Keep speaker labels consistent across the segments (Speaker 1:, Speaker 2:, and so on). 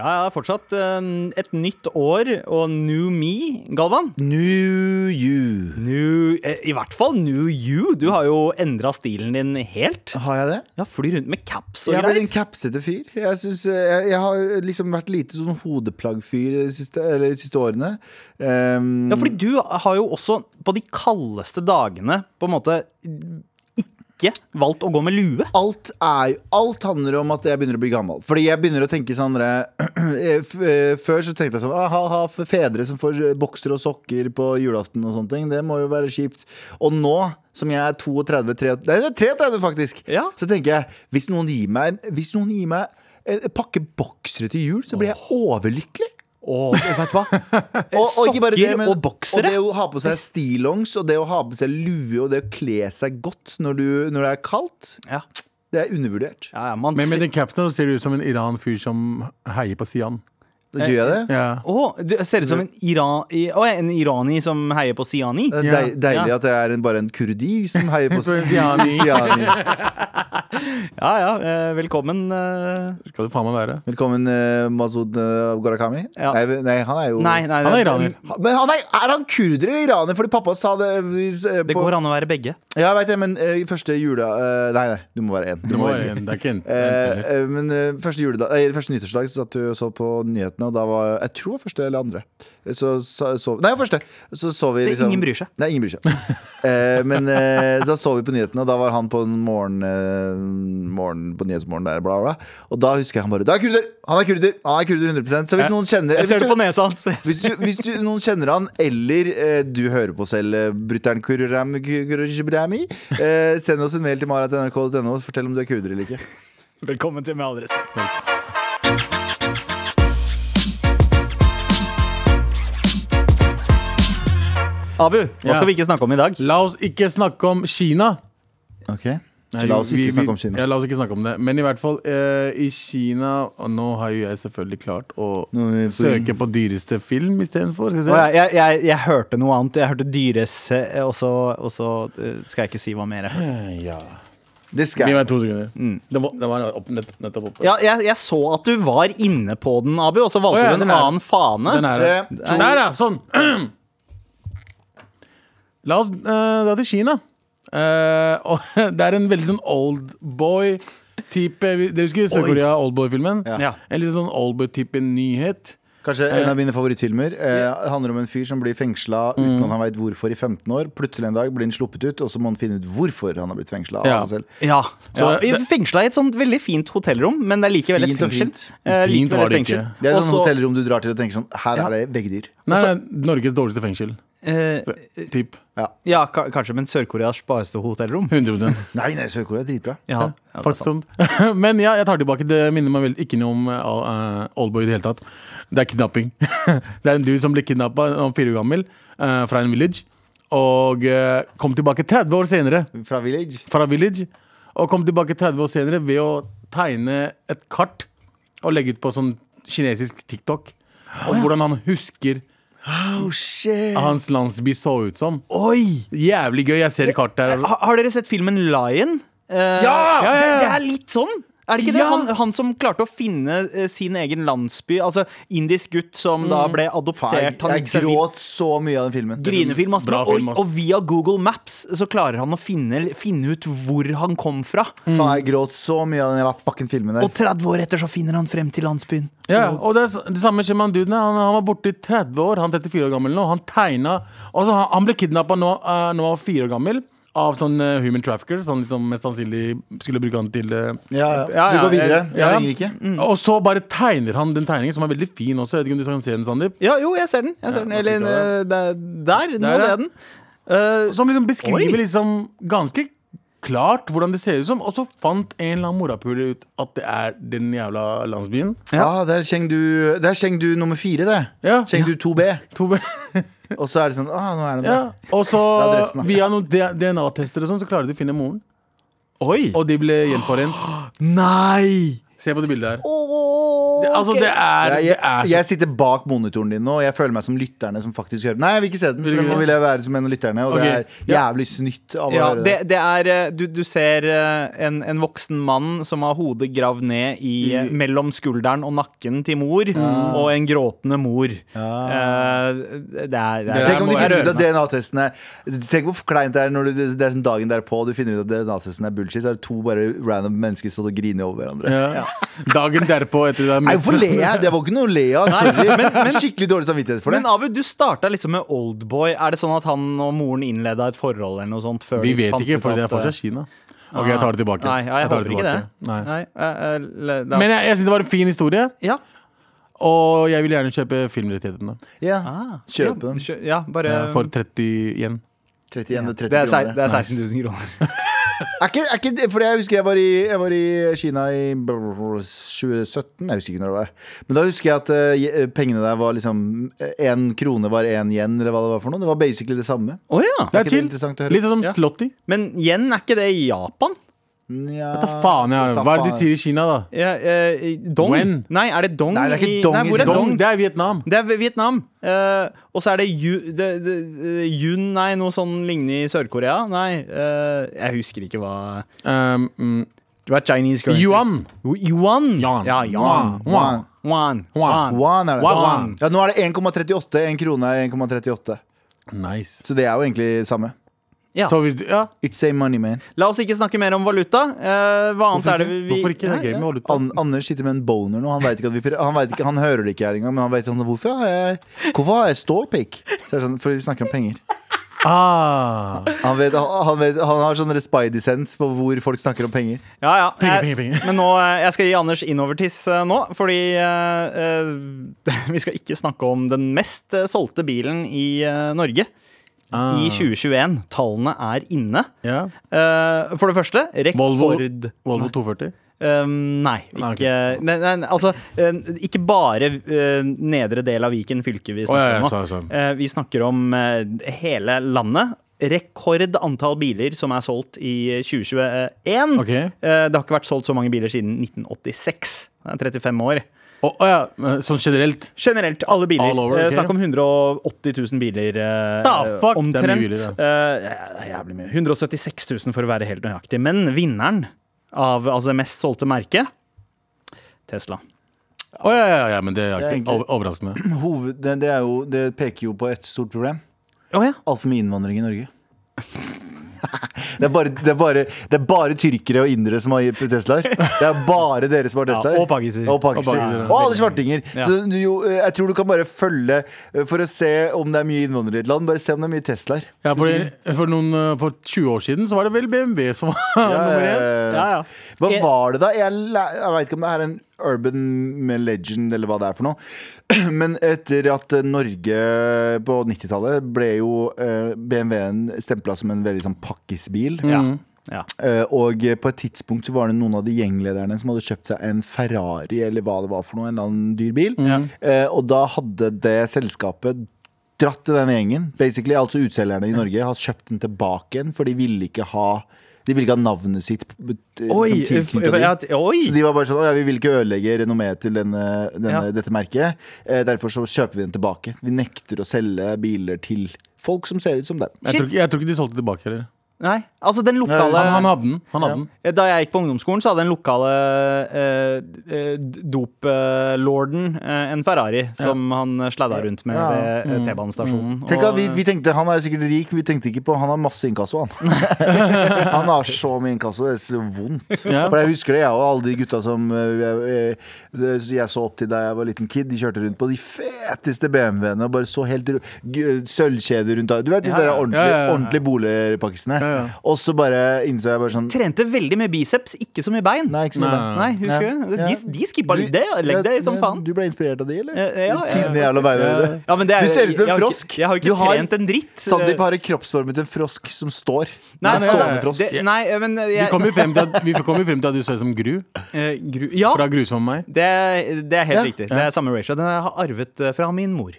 Speaker 1: Ja, ja, fortsatt eh, et nytt år og new me, Galvan.
Speaker 2: New you.
Speaker 1: New, eh, I hvert fall new you. Du har jo endra stilen din helt.
Speaker 2: Har jeg det?
Speaker 1: Ja, Fly rundt med caps og
Speaker 2: Jeg ble
Speaker 1: greier.
Speaker 2: en kapsete fyr. Jeg, synes, eh, jeg, jeg har liksom vært lite sånn hodeplaggfyr de siste, eller de siste årene. Ehm,
Speaker 1: Ja, fordi du har jo også på de kaldeste dagene på en måte ikke valgt å gå med lue.
Speaker 2: alt, er, jo- alt handler om at jeg begynner å bli gammel. Fordi jeg begynner å tenke sånn dere, f- eh, Før så tenkte jeg sånn ah, Ha-ha, for fedre som får eh, bokser og sokker på julaften og sånne ting. Det må jo være kjipt. Og nå som jeg er 32, 33, nei, det er 33 faktisk,
Speaker 1: Ja.
Speaker 2: så tenker jeg hvis noen gir meg, en- hvis noen gir meg en pakke boksere til jul, så blir jeg overlykkelig.
Speaker 1: Og vet du hva?
Speaker 2: og, og ikke bare
Speaker 1: Eh, Sokker
Speaker 2: det, men,
Speaker 1: og boksere.
Speaker 2: Og det å ha på seg stillongs, og det å ha på seg lue, og det å kle seg godt når, du, når det er kaldt,
Speaker 1: Ja,
Speaker 2: det er undervurdert.
Speaker 1: ja, ja man
Speaker 3: Men med
Speaker 1: ser-
Speaker 3: den capsen så ser du ut som en Iran-fyr som heier på Sian.
Speaker 2: Da gjør
Speaker 1: Eh,
Speaker 2: jeg det.
Speaker 3: Ja.
Speaker 1: Å, du ser ut som en, Iran, i- å, en irani som heier på Siani.
Speaker 2: Det er
Speaker 3: Ja.
Speaker 2: deil, deilig
Speaker 1: Ja.
Speaker 2: at jeg er en, bare en kurdir som heier på
Speaker 3: På en Siani.
Speaker 2: Siani.
Speaker 1: Ja ja, eh, velkommen. eh,
Speaker 3: Skal du faen meg være.
Speaker 2: Velkommen, eh, Masud eh, Gharahkhami.
Speaker 1: Ja.
Speaker 2: Nei, nei, Sånn. han er jo
Speaker 1: Nei, nei,
Speaker 3: Han er iraner.
Speaker 2: Ha- Men han er, er han kurder eller iraner? Fordi pappa sa det hvis, eh,
Speaker 1: Det
Speaker 2: på,
Speaker 1: går an å være begge.
Speaker 2: Ja, jeg vet det, men eh, første jule... eh, nei, nei, du må være én.
Speaker 3: Det må være en, det er ikke en.
Speaker 2: Eh, eh, men eh, første, juledag, eh, første nyttårsdag så satt du og så på nyhetene, og da var Jeg tror det var første eller andre. Så, så, så, nei, første. Så så vi
Speaker 1: Det-
Speaker 2: liksom,
Speaker 1: ingen bryr seg.
Speaker 2: Nei, ingen bryr seg. eh, men eh, så så vi på nyhetene, og da var han på en morgen, eh, morgen på Nyhetsmorgen der, bla, bla. Og da husker jeg han bare Da er kurder! Han er kurder! Han er kurder 100 Så hvis noen kjenner
Speaker 1: Jeg
Speaker 2: hvis
Speaker 1: ser det
Speaker 2: du-
Speaker 1: på nesa hans.
Speaker 2: hvis, du, hvis du, noen kjenner han, eller eh, du hører på selv, eh, brutter'n Kurram- Kurrami, eh, send oss en mail til mara.nrk.no og fortell om du er kurder eller ikke.
Speaker 1: Velkommen til Med all respekt. Abu, hva
Speaker 3: Ja.
Speaker 1: skal vi ikke snakke om i dag?
Speaker 3: La oss ikke snakke om Kina.
Speaker 2: Ok
Speaker 3: Nei,
Speaker 2: La oss
Speaker 3: vi-
Speaker 2: ikke
Speaker 3: vi-
Speaker 2: snakke om Kina.
Speaker 3: Ja, la oss ikke snakke om det. Men i hvert fall, eh, i Kina Og nå har jo jeg selvfølgelig klart å
Speaker 2: Nå er vi på-
Speaker 3: søke på dyreste film istedenfor. Skal vi
Speaker 1: Å,
Speaker 3: se.
Speaker 1: jeg, jeg, jeg, jeg hørte noe annet. Jeg hørte dyres, eh, og så, og så eh, skal jeg ikke si hva mer. jeg hørte.
Speaker 3: Ja.
Speaker 2: Det skal
Speaker 3: Gi
Speaker 2: jeg.
Speaker 3: meg to sekunder.
Speaker 2: Mm.
Speaker 3: Den var, den var opp, nett, nettopp oppe.
Speaker 1: Ja, jeg, jeg så at du var inne på den, Abu, og så valgte
Speaker 3: Å, ja,
Speaker 1: du
Speaker 3: den
Speaker 1: en
Speaker 3: er-
Speaker 1: annen fane.
Speaker 3: Den er
Speaker 2: Tre,
Speaker 3: det.
Speaker 2: to-
Speaker 3: Der, ja. Sånn. La oss eh, dra til Kina. Eh, og det er en veldig sånn oldboy-type Dere husker Sør-Korea oldboy-filmen?
Speaker 1: Ja.
Speaker 3: En litt sånn oldboy-type nyhet.
Speaker 2: Kanskje en av mine favorittfilmer. Eh, handler om en fyr som blir fengsla uten at han veit hvorfor i 15 år. Plutselig en dag blir han sluppet ut, og så må han finne ut hvorfor han har blitt fengsla.
Speaker 3: Ja.
Speaker 1: Ja.
Speaker 3: Så
Speaker 1: ja.
Speaker 3: det-
Speaker 1: Fengsla i et sånt veldig fint hotellrom, men det er likevel et
Speaker 2: Fint og
Speaker 1: fengsel.
Speaker 2: fint.
Speaker 1: Eh,
Speaker 3: Fint
Speaker 1: likevel
Speaker 3: var
Speaker 1: et
Speaker 3: det
Speaker 1: fengsel.
Speaker 3: ikke.
Speaker 2: Det er et sånt
Speaker 1: Også-
Speaker 2: hotellrom du drar til og tenker sånn Her er det veggdyr.
Speaker 3: Nei, nei, Norges dårligste fengsel.
Speaker 1: eh,
Speaker 3: Typ.
Speaker 1: Ja, ka kanskje, men Sør-Koreas bareste hotellrom.
Speaker 3: 100
Speaker 2: Nei, nei, Sør-Korea er dritbra.
Speaker 1: Ja, ja, det er
Speaker 3: Faktisk
Speaker 1: sant.
Speaker 3: sånn. Men ja, jeg tar tilbake. Det minner meg vel ikke noe om eh, Oldboy i det hele tatt. Det er kidnapping. det er en dude som ble kidnappa om fire år gammel eh, fra en village. Og eh, kom tilbake 30 år senere
Speaker 2: Fra Village.
Speaker 3: fra village. Og kom tilbake 30 år senere ved å tegne et kart og legge ut på sånn kinesisk TikTok. Om hvordan han husker
Speaker 2: Oh shit
Speaker 3: hans landsby så ut som.
Speaker 1: Oi!
Speaker 3: Jævlig gøy. Jeg ser kart der.
Speaker 1: Ha, har dere sett filmen Lion? Eh,
Speaker 2: Ja!
Speaker 3: Ja, ja, ja.
Speaker 1: Det, det er litt sånn. Er det ikke det?
Speaker 3: Ja.
Speaker 1: Han, han som klarte å finne eh, sin egen landsby. Altså indisk gutt som da ble
Speaker 2: Jeg,
Speaker 1: adoptert. Han
Speaker 2: jeg
Speaker 1: gikk seg vill.
Speaker 2: gråt så mye av den filmen.
Speaker 1: Grinefilm, ass.
Speaker 3: Bra
Speaker 1: Men-
Speaker 3: film, ass.
Speaker 1: Og, og via Google Maps så klarer han å finne, finne ut hvor han kom fra.
Speaker 2: Faen, jeg gråt så mye av den jævla fucking filmen der.
Speaker 1: Og 30 år etter så finner han frem til landsbyen.
Speaker 3: Ja, og det, er, s- det samme skjer med han duden. her. Han, han var borte i 30 år. Han er 34 år gammel nå. Han tegna og så han, han ble kidnappa nå, eh, når han var fire år gammel. Av sånn eh, human traffickers, som liksom mest sannsynlig skulle bruke han til eh,
Speaker 2: Ja, ja.
Speaker 1: Ja,
Speaker 2: Vi
Speaker 1: ja,
Speaker 2: går videre.
Speaker 3: ja.
Speaker 2: Jeg ringer ikke.
Speaker 3: Og så bare tegner han den tegningen, som er veldig fin også. Jeg vet ikke om du kan se den, Sandeep.
Speaker 1: Ja, jo, jeg ser den. Jeg ser
Speaker 3: Ja,
Speaker 1: den. Eller eh, der, der, nå
Speaker 3: Der,
Speaker 1: ser
Speaker 3: ja.
Speaker 1: jeg den. Eh,
Speaker 3: Som liksom beskriver
Speaker 1: Oi.
Speaker 3: liksom ganske klart hvordan det ser ut som. Og så fant en eller annen morapuler ut at det er den jævla landsbyen.
Speaker 1: Ja.
Speaker 2: Ah, det er Chengdu- det er Chengdu nummer fire, det.
Speaker 3: Ja.
Speaker 2: Chengdu 2B.
Speaker 3: Tobe.
Speaker 2: Og så er det sånn ah, nå er den
Speaker 3: ja.
Speaker 2: der.
Speaker 3: Og så,
Speaker 2: Det er adressen, da.
Speaker 3: via noen DNA-tester og sånn, så klarer de å finne moren.
Speaker 1: oi!
Speaker 3: Og de ble gjenforent.
Speaker 1: Nei!
Speaker 3: Se på det bildet her. Det, altså, det er,
Speaker 2: Jeg,
Speaker 3: det er
Speaker 2: jeg, jeg sitter bak monitoren din nå, og jeg føler meg som lytterne som faktisk hører Nei, jeg vil ikke se den, for nå vil jeg være som en av lytterne, og
Speaker 3: Ok.
Speaker 2: det er jævlig snytt av å
Speaker 1: Ja,
Speaker 2: høre
Speaker 1: det,
Speaker 2: det.
Speaker 1: det er eh, Du, du ser eh, en, en voksen mann som har hodet gravd ned i, eh, mellom skulderen og nakken til mor, og en gråtende mor. Eh, det er, det er,
Speaker 3: der
Speaker 2: Tenk om
Speaker 3: må
Speaker 2: du
Speaker 3: jeg
Speaker 2: finner ut
Speaker 3: røre
Speaker 2: at DNA-testen er Tenk hvor kleint det er når du, det det er sånn dagen derpå og du finner ut at DNA-testen er bullshit, så er det to bare random mennesker som står og griner over hverandre.
Speaker 3: ja. Dagen derpå etter det er
Speaker 2: Nei,
Speaker 3: møtt-
Speaker 2: hvorfor ler jeg? Det var ikke noe å le av. Sorry. Skikkelig dårlig samvittighet for det.
Speaker 1: Men Abu, du starta liksom med Oldboy. Er det sånn at han og moren innleda et forhold eller noe sånt? Før
Speaker 3: Vi
Speaker 1: de
Speaker 3: vet
Speaker 1: fant
Speaker 3: ikke,
Speaker 1: ut
Speaker 3: for det
Speaker 1: at,
Speaker 3: er fortsatt
Speaker 1: eh,
Speaker 3: Kina. Ok, jeg tar det tilbake.
Speaker 1: Nei, ja, jeg,
Speaker 3: tar
Speaker 1: håper ikke det.
Speaker 3: tilbake. Nei.
Speaker 1: eh, eh, le- det er-
Speaker 3: Men jeg, jeg syns det var en fin historie,
Speaker 1: ja.
Speaker 3: og jeg vil gjerne kjøpe filmrettighetene.
Speaker 2: Ja.
Speaker 1: ja,
Speaker 2: Kjøp den.
Speaker 1: kjø- Ja, bare
Speaker 3: Eh, For 30 igjen.
Speaker 2: 31
Speaker 1: det er,
Speaker 2: 30
Speaker 1: sei-
Speaker 2: kroner.
Speaker 1: det er 16 000 kroner.
Speaker 2: Er ikke, er ikke, det- fordi jeg husker jeg var, i, jeg var i Kina i brr- 2017, jeg husker ikke når det var. Men da husker jeg at eh, je- eh, pengene der var liksom Én krone var én yen, eller hva det var for noe. Det var basically det samme.
Speaker 1: Å ja.
Speaker 3: Det
Speaker 2: ikke
Speaker 3: er
Speaker 2: det
Speaker 3: chill.
Speaker 2: interessant å høre?
Speaker 3: Litt sånn som
Speaker 2: Ja.
Speaker 3: Slotty.
Speaker 1: Men yen, er ikke det i Japan?
Speaker 2: Nja
Speaker 3: Hva faen, ja.
Speaker 2: ta
Speaker 3: Hva er det de
Speaker 2: faen.
Speaker 3: sier i Kina, da?
Speaker 1: Ja, eh, dong?
Speaker 3: Wen.
Speaker 1: Nei, er det dong?
Speaker 2: Nei, det er ikke
Speaker 1: i-
Speaker 2: dong
Speaker 1: Nei,
Speaker 2: i
Speaker 1: hvor er
Speaker 2: Kina.
Speaker 1: dong?
Speaker 3: Dong, det er Vietnam.
Speaker 1: Det er V- Vietnam. Eh, og så er det Ju- det- det- eh, Yun, nei, noe sånn lignende i Sør-Korea. Nei, eh, jeg husker ikke hva
Speaker 3: Um, mm,
Speaker 1: Det var Chinese currency.
Speaker 3: Yuan.
Speaker 1: Yuan.
Speaker 3: Yan.
Speaker 1: Ja,
Speaker 3: Wan.
Speaker 1: yuan.
Speaker 3: Wan.
Speaker 1: Wan.
Speaker 3: Wan.
Speaker 2: Wan er det.
Speaker 3: Wan,
Speaker 1: wan.
Speaker 2: Ja, nå er det 1,38. Én krone er 1,38.
Speaker 3: Nice.
Speaker 2: Så det er jo egentlig det samme.
Speaker 1: Ja.
Speaker 3: Så hvis, ja.
Speaker 2: It's same money, man.
Speaker 1: La oss ikke snakke mer om valuta. Eh, hva annet er det vi
Speaker 3: Hvorfor ikke? Det er gøy med valuta.
Speaker 2: An Anders sitter med en boner nå. Han, vet ikke at vi, pr- han, vet ikke, han hører det ikke her engang, men han vet sånn Hvorfor har jeg, hvorfor har jeg stålpikk? Så er det Sånn, fordi vi snakker om penger.
Speaker 3: Ah.
Speaker 2: Han, vet, han, vet, han har sånn spidey-sense på hvor folk snakker om penger.
Speaker 1: Ja, ja.
Speaker 3: Penger,
Speaker 1: Jeg-
Speaker 3: penger, penger.
Speaker 1: Men nå, eh, jeg skal gi Anders innovertiss eh, nå, fordi eh, eh, vi skal ikke snakke om den mest eh, solgte bilen i eh, Norge
Speaker 3: Ah.
Speaker 1: i 2021. Tallene er inne.
Speaker 3: Ja.
Speaker 1: Eh, for det første,
Speaker 3: Volvo, Ah,
Speaker 1: rekord
Speaker 3: Volvo 240.
Speaker 1: Um, nei, ikke, nei,
Speaker 3: Nei,
Speaker 1: nei, nei, altså, um, ikke bare uh, nedre del av Viken fylke vi
Speaker 3: Å,
Speaker 1: snakker
Speaker 3: ja, ja,
Speaker 1: om. nå.
Speaker 3: så- så.
Speaker 1: Eh, vi snakker om eh, hele landet. Rekordantall biler som er solgt i 2021.
Speaker 3: Ok.
Speaker 1: Eh, det har ikke vært solgt så mange biler siden 1986. Det er 35 år.
Speaker 3: Å å ja, eh, sånn generelt.
Speaker 1: Generelt, alle biler.
Speaker 3: All over,
Speaker 1: Eh,
Speaker 3: ok.
Speaker 1: Snakk om 180 000 biler eh,
Speaker 3: Da, fuck, det er mye
Speaker 1: omtrent.
Speaker 3: biler,
Speaker 1: Eh, ja, jævlig mye. 176 000 for å være helt nøyaktig. Men vinneren av altså, det mest solgte merket Tesla.
Speaker 3: Å ja, ja, ja, men det
Speaker 2: Det
Speaker 3: er
Speaker 2: er
Speaker 3: ikke
Speaker 2: egentlig-
Speaker 3: over- overraskende.
Speaker 2: Hoved, det, det, er jo, det peker jo på et stort problem.
Speaker 1: Å ja.
Speaker 2: Altfor mye innvandring i Norge. Det er, bare, det, er bare, det er bare tyrkere og indere som har Teslaer. Det er bare dere som har Teslaer.
Speaker 1: og pakiser.
Speaker 2: Og, pakiser. og,
Speaker 3: Og pakiser, ja.
Speaker 2: alle svartinger.
Speaker 1: Ja.
Speaker 2: Så du, jo, eh, jeg tror du kan bare følge eh, for å se om det er mye innvandrere i et land. Bare se om det er mye Teslaer.
Speaker 3: Ja, for, for, noen, eh, for 20 år siden så var det vel BMW som var nummer én.
Speaker 2: Eh,
Speaker 1: Ja, ja.
Speaker 2: Hva
Speaker 1: Jeg-
Speaker 2: var det da? Jeg, læ- jeg veit ikke om det er en urban legend eller hva det er for noe. Men etter at eh, Norge på 90-tallet ble jo eh, BMW-en stempla som en veldig sånn pakkisbil.
Speaker 1: Ja.
Speaker 3: Mm.
Speaker 1: ja.
Speaker 2: Eh, Og på et tidspunkt så var det noen av de gjenglederne som hadde kjøpt seg en Ferrari eller hva det var for noe, en eller annen dyr bil. Eh, Og da hadde det selskapet dratt til denne gjengen. Basically, altså Utselgerne i Norge har kjøpt den tilbake igjen, for de ville ikke ha De ville ikke ha navnet sitt eh,
Speaker 1: Oi!
Speaker 2: som
Speaker 1: eh,
Speaker 2: tilknyttet dem.
Speaker 1: ja, t- oi.
Speaker 2: Så de var bare sånn, «Å ja, vi vil ikke ødelegge renommeet til denne, denne,
Speaker 1: Ja.
Speaker 2: dette merket. Eh, derfor så kjøper vi den tilbake. Vi nekter å selge biler til folk som ser ut som dem.
Speaker 3: Jeg, tror ikke- jeg tror ikke de solgte tilbake heller.
Speaker 1: Nei, altså den lokale Eh,
Speaker 3: Han, han hadde den. Han hadde den.
Speaker 1: Da jeg gikk på ungdomsskolen, så hadde den lokale eh, eh, doplorden eh, en Ferrari som han sladda rundt med
Speaker 2: Ja.
Speaker 1: ved eh,
Speaker 3: Mm.
Speaker 1: T-banestasjonen.
Speaker 2: Tenk
Speaker 1: Og-
Speaker 2: at vi, vi tenkte, Han er sikkert rik, vi tenkte ikke på Han har masse inkasso, han. han har så mye inkasso, det er så vondt.
Speaker 3: Ja.
Speaker 2: For Jeg husker det, jeg og alle de gutta som eh, jeg, eh, jeg så opp til da jeg var liten kid. De kjørte rundt på de feteste BMW-ene og bare så helt ru- g- eh, sølvkjeder rundt av- Du vet de der ordentlige,
Speaker 3: Ja, ja, ja.
Speaker 2: ordentlige boligpakkisene.
Speaker 3: Ja, ja.
Speaker 2: Og så bare innså jeg bare sånn
Speaker 1: Trente veldig mye biceps, ikke så mye bein.
Speaker 2: Nei, ikke så mye.
Speaker 3: Nei.
Speaker 1: Nei, husker
Speaker 2: Ja.
Speaker 1: du?
Speaker 2: Ja.
Speaker 1: De, de skippa litt
Speaker 2: Du-
Speaker 1: det. Legg det
Speaker 2: ja,
Speaker 1: som
Speaker 2: men
Speaker 1: faen.
Speaker 2: Du ble inspirert av de, eller?
Speaker 1: Eh, ja, ja,
Speaker 2: Tynne
Speaker 1: ja.
Speaker 2: jævla beinene dine.
Speaker 1: Ja, men det er-
Speaker 2: Du ser ut som
Speaker 1: jeg
Speaker 2: en
Speaker 1: har ikke-
Speaker 2: frosk.
Speaker 1: Jeg har jo
Speaker 2: Du
Speaker 1: ikke
Speaker 2: har-
Speaker 1: trent en dritt.
Speaker 2: Sandeep har en kroppsform til en frosk som står.
Speaker 1: Nei,
Speaker 2: En
Speaker 1: men- altså,
Speaker 2: stående frosk.
Speaker 1: det- nei, men
Speaker 3: Vi
Speaker 1: jeg,
Speaker 3: kom jo frem til at, vi kom jo frem til at du ser ut som Gru
Speaker 1: eh, gru, Ja,
Speaker 3: fra Grusom meg.
Speaker 1: det, det er helt
Speaker 2: Ja.
Speaker 1: riktig. Det er samme ratio. Den har jeg arvet eh, fra min mor.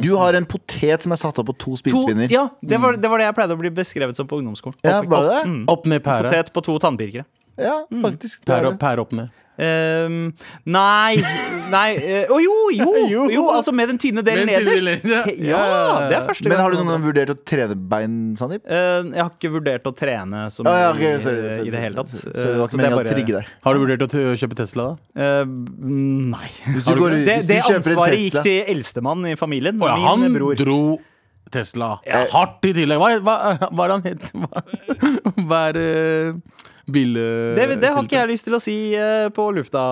Speaker 2: Du har en potet som er satt opp på
Speaker 1: To,
Speaker 2: to spisepinner.
Speaker 1: ja, det var, det var det jeg pleide å bli beskrevet som på ungdomsskolen.
Speaker 2: Mm. Ja, var det det?
Speaker 3: Opp ned pære.
Speaker 1: Potet på to tannpirkere.
Speaker 2: Ja, faktisk. Det er
Speaker 3: Pære opp,
Speaker 2: det.
Speaker 3: pære opp ned.
Speaker 1: Ehm, nei Nei eh, Å jo, jo, jo!
Speaker 3: Jo.
Speaker 1: Altså med den tynne delen
Speaker 3: Med den tynne
Speaker 1: nederst.
Speaker 3: delen, ja.
Speaker 1: He- Ja, det er første
Speaker 2: Men
Speaker 1: gang.
Speaker 2: har du noen gang vurdert å trene bein, Sandeep?
Speaker 1: Eh, jeg har ikke vurdert å trene så mye
Speaker 2: Ah, ja,
Speaker 1: i-
Speaker 2: ok, sorry, sorry,
Speaker 1: i det hele
Speaker 2: sorry,
Speaker 1: tatt.
Speaker 2: sorry. Så det
Speaker 1: Eh,
Speaker 2: var ikke meningen
Speaker 1: bare-
Speaker 2: å trigge deg.
Speaker 3: Har du vurdert å t- kjøpe Tesla? da?
Speaker 1: Eh, nei.
Speaker 2: Hvis du,
Speaker 3: du
Speaker 2: går,
Speaker 3: ikke?
Speaker 1: Det,
Speaker 2: hvis du
Speaker 1: det
Speaker 2: kjøper en
Speaker 1: ansvaret gikk
Speaker 2: Tesla
Speaker 1: til eldstemann i familien.
Speaker 3: Å ja,
Speaker 1: min
Speaker 3: han
Speaker 1: bror.
Speaker 3: dro Tesla hardt i tillegg. Hva, hva, hva er det han het? Hva, hva er uh, bil... eh,
Speaker 1: Det, det har ikke
Speaker 3: skiltet?
Speaker 1: jeg lyst til å si eh, på lufta,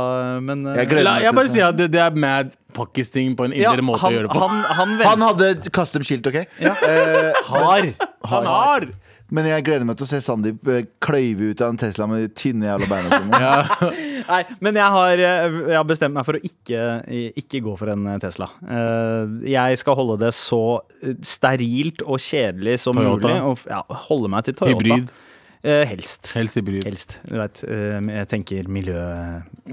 Speaker 1: men eh,
Speaker 2: Jeg gleder
Speaker 3: La,
Speaker 2: meg
Speaker 3: jeg
Speaker 2: til
Speaker 3: bare
Speaker 2: Tesla.
Speaker 3: sier at det, det er mad pakkisting på en
Speaker 1: ja,
Speaker 3: indre måte
Speaker 1: han,
Speaker 3: å gjøre det på.
Speaker 1: Han, han,
Speaker 2: Han hadde kast opp skilt, OK? Eh,
Speaker 1: har
Speaker 3: Han har!
Speaker 2: men jeg gleder meg til å se Sandeep eh, kløyve ut av en Tesla med de tynne jævla beina sine.
Speaker 1: Nei, men jeg har, eh, jeg har bestemt meg for å ikke, ikke gå for en Tesla. Eh, Jeg skal holde det så eh, sterilt og kjedelig som
Speaker 3: Toyota?
Speaker 1: mulig. Og f- ja, holde meg til Toyota.
Speaker 3: Hybrid.
Speaker 1: Eh, Helst.
Speaker 3: Helst hybrid.
Speaker 1: Helst. Du vet, eh, jeg tenker miljø...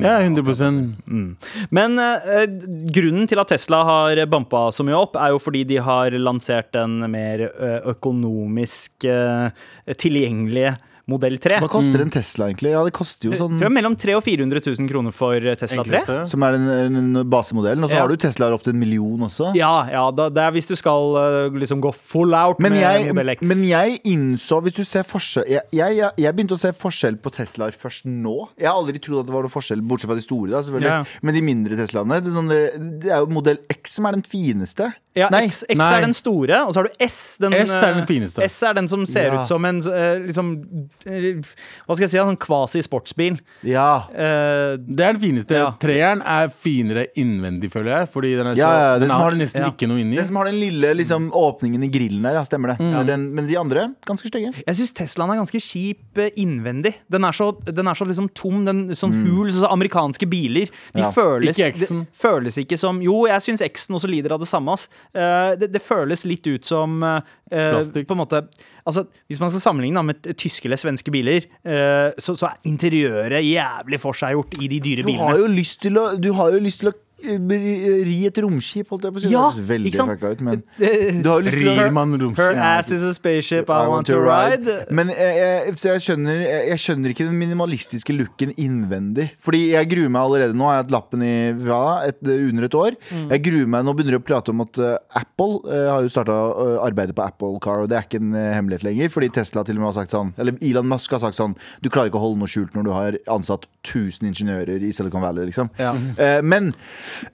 Speaker 3: Ja, 100
Speaker 1: Men eh, grunnen til at Tesla har bampa så mye opp, er jo fordi de har lansert en mer eh, økonomisk eh, tilgjengelige modell 3.
Speaker 2: Hva koster en Tesla, egentlig? Ja, det koster jo sånn
Speaker 1: Tror jeg mellom 300 000 og 400 000 kroner for Tesla 3.
Speaker 3: Enkleste.
Speaker 2: Som er den, den basemodellen. Og så
Speaker 1: Ja.
Speaker 2: har du Teslaer opp til en million også.
Speaker 1: Ja, ja da, det er hvis du skal eh, liksom gå full out
Speaker 2: Men
Speaker 1: med
Speaker 2: jeg,
Speaker 1: Model X.
Speaker 2: men jeg innså Hvis du ser forskjell jeg, jeg, jeg, jeg begynte å se forskjell på Teslaer først nå. Jeg har aldri trodd at det var noe forskjell, bortsett fra de store, da, selvfølgelig.
Speaker 1: Ja.
Speaker 2: Men de mindre Teslaene det, er sånn, det- det er jo modell X som er den fineste.
Speaker 1: ja,
Speaker 2: Nei.
Speaker 1: X, X
Speaker 3: Nei.
Speaker 1: er den store, og så har du S. Den,
Speaker 3: S er den
Speaker 1: eh,
Speaker 3: fineste.
Speaker 1: S er den som ser
Speaker 2: Ja.
Speaker 1: ut som en eh, liksom eh, Hva skal jeg si, en sånn kvasi-sportsbil.
Speaker 2: Ja.
Speaker 1: Eh,
Speaker 3: Det er den fineste.
Speaker 1: Ja.
Speaker 3: Treeren er finere innvendig, føler jeg. Fordi den, er så,
Speaker 2: Ja, ja, det
Speaker 3: den
Speaker 2: som
Speaker 3: har
Speaker 2: har-
Speaker 3: nesten
Speaker 1: ja.
Speaker 3: ikke noe inni.
Speaker 2: Den som har den lille liksom, åpningen i grillen der, ja, stemmer det.
Speaker 1: Mm.
Speaker 2: Den, men de andre, ganske stygge.
Speaker 1: Jeg syns Teslaen er ganske kjip eh, innvendig. Den er så, den er så liksom tom, den sånn hul. sånn som amerikanske biler. De
Speaker 2: Ja.
Speaker 1: føles,
Speaker 3: Ikke
Speaker 1: de,
Speaker 3: X-en.
Speaker 1: føles ikke som Jo, jeg syns X-en også lider av det samme. Ass. Eh, det, det føles litt ut som eh, eh,
Speaker 3: Plastikk.
Speaker 1: På en måte Altså, Hvis man skal sammenligne da, med t- tyske eller svenske biler, eh, så, så er interiøret jævlig forseggjort i de dyre
Speaker 2: Du har
Speaker 1: bilene.
Speaker 2: jo lyst til å, du har jo lyst til å eh, ri et romskip, holdt jeg på å si.
Speaker 1: Ja,
Speaker 2: det høres veldig
Speaker 1: ikke sant?
Speaker 2: fucka ut, men du har jo lyst til å
Speaker 3: Rir man
Speaker 1: Her
Speaker 3: romskip.
Speaker 1: ass is a spaceship I, want to ride.
Speaker 2: Men jeg, jeg, så jeg, skjønner, jeg, jeg skjønner ikke den minimalistiske looken innvendig. Fordi jeg gruer meg allerede nå. Har jeg hatt lappen i hva, da? et, under et år.
Speaker 1: Mm.
Speaker 2: Jeg gruer meg, Nå begynner de å prate om at eh, Apple eh, har jo starta arbeidet på Apple Car, og det er ikke en eh, hemmelighet lenger. Fordi Tesla til og med har sagt sånn Eller Elon Musk har sagt sånn Du klarer ikke å holde noe skjult når du har ansatt 1000 ingeniører i Silicon Valley, liksom. Eh, men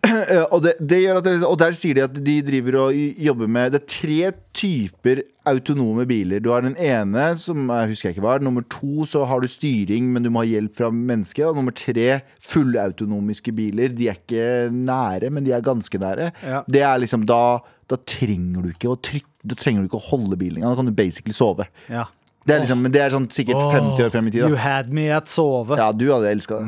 Speaker 2: Eh, og, det, det gjør at det, liksom- og der sier de at de driver og j- jobber med Det er tre typer autonome biler. Du har den ene, som jeg husker jeg ikke var. Nummer to så har du styring, men du må ha hjelp fra mennesket. Og nummer tre fullautonomiske biler. De er ikke nære, men de er ganske nære.
Speaker 1: Ja.
Speaker 2: Det er liksom da Da trenger du ikke å trykke da trenger du ikke å holde bilen engang. Da kan du basically sove.
Speaker 1: Ja.
Speaker 2: Det er liksom, men det er sånn sikkert 50 år frem i tid.
Speaker 1: You
Speaker 2: Da.
Speaker 1: had me at sove.
Speaker 2: Ja, du hadde elska det.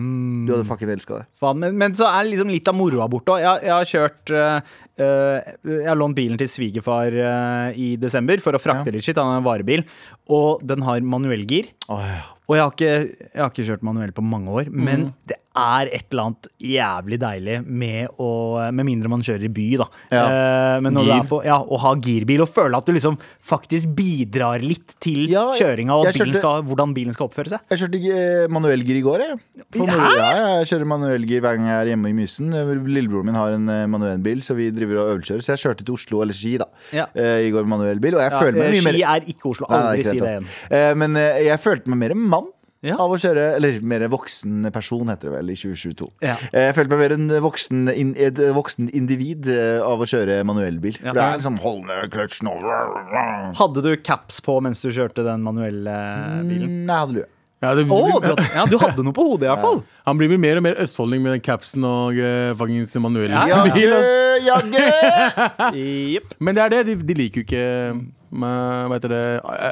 Speaker 2: Du hadde fucking elska det.
Speaker 1: Faen, men, men så er liksom litt av moroa borte òg. Jeg, jeg har kjørt eh, eh, Jeg har lånt bilen til svigerfar eh, i desember for å frakte litt skitt. Han har en varebil, og den har manuellgir.
Speaker 2: Åh, ja.
Speaker 1: Og jeg har, ikke, jeg har ikke kjørt manuell på mange år, men
Speaker 2: Mhm.
Speaker 1: det er et eller annet jævlig deilig med å Med mindre man kjører i by, da.
Speaker 2: Ja.
Speaker 1: Eh, men når du
Speaker 2: Gir.
Speaker 1: er på Ja, å ha girbil og føle at du liksom faktisk bidrar litt til
Speaker 2: Ja, jeg-
Speaker 1: kjøringa og at
Speaker 2: jeg
Speaker 1: bilen
Speaker 2: kjørte-
Speaker 1: skal, hvordan bilen skal oppføre seg.
Speaker 2: Jeg kjørte eh, manuellgir i går, jeg. For moro- ja, ja, jeg kjører manuellgir hver gang jeg er hjemme i Mysen. Lillebroren min har en eh, manuellbil, så vi driver og øvelseskjører. Så jeg kjørte til Oslo, eller Ski, da,
Speaker 1: Ja.
Speaker 2: eh, i går med manuellbil. Og jeg
Speaker 1: Ja,
Speaker 2: føler meg
Speaker 1: eh,
Speaker 2: mye mer
Speaker 1: Ski er ikke Oslo.
Speaker 2: Nei, nei,
Speaker 1: Aldri
Speaker 2: ikke
Speaker 1: si
Speaker 2: helt
Speaker 1: det igjen.
Speaker 2: sant. Eh, Men eh, jeg følte meg mer en mann.
Speaker 1: Ja.
Speaker 2: Av å kjøre, eller mer voksen person, heter det vel, i 2022.
Speaker 1: Ja.
Speaker 2: Eh, Jeg følte meg mer en voksen, in, et voksen individ eh, av å kjøre manuellbil.
Speaker 1: Ja.
Speaker 2: For det er liksom hold ned kløtsjen og
Speaker 1: Hadde du caps på mens du kjørte den manuelle bilen?
Speaker 2: Nei, hadde du.
Speaker 3: Ja, det,
Speaker 2: Mm.
Speaker 1: Å, du, hadde, ja, du hadde noe på hodet i hvert fall.
Speaker 3: han blir mer og mer østfolding med den capsen og uh, fangens manuelle
Speaker 1: Ja,
Speaker 2: Jagge,
Speaker 3: bil. altså.
Speaker 2: jagge!
Speaker 1: Jepp.
Speaker 3: Men det er det, de, de liker jo ikke med, hva heter det,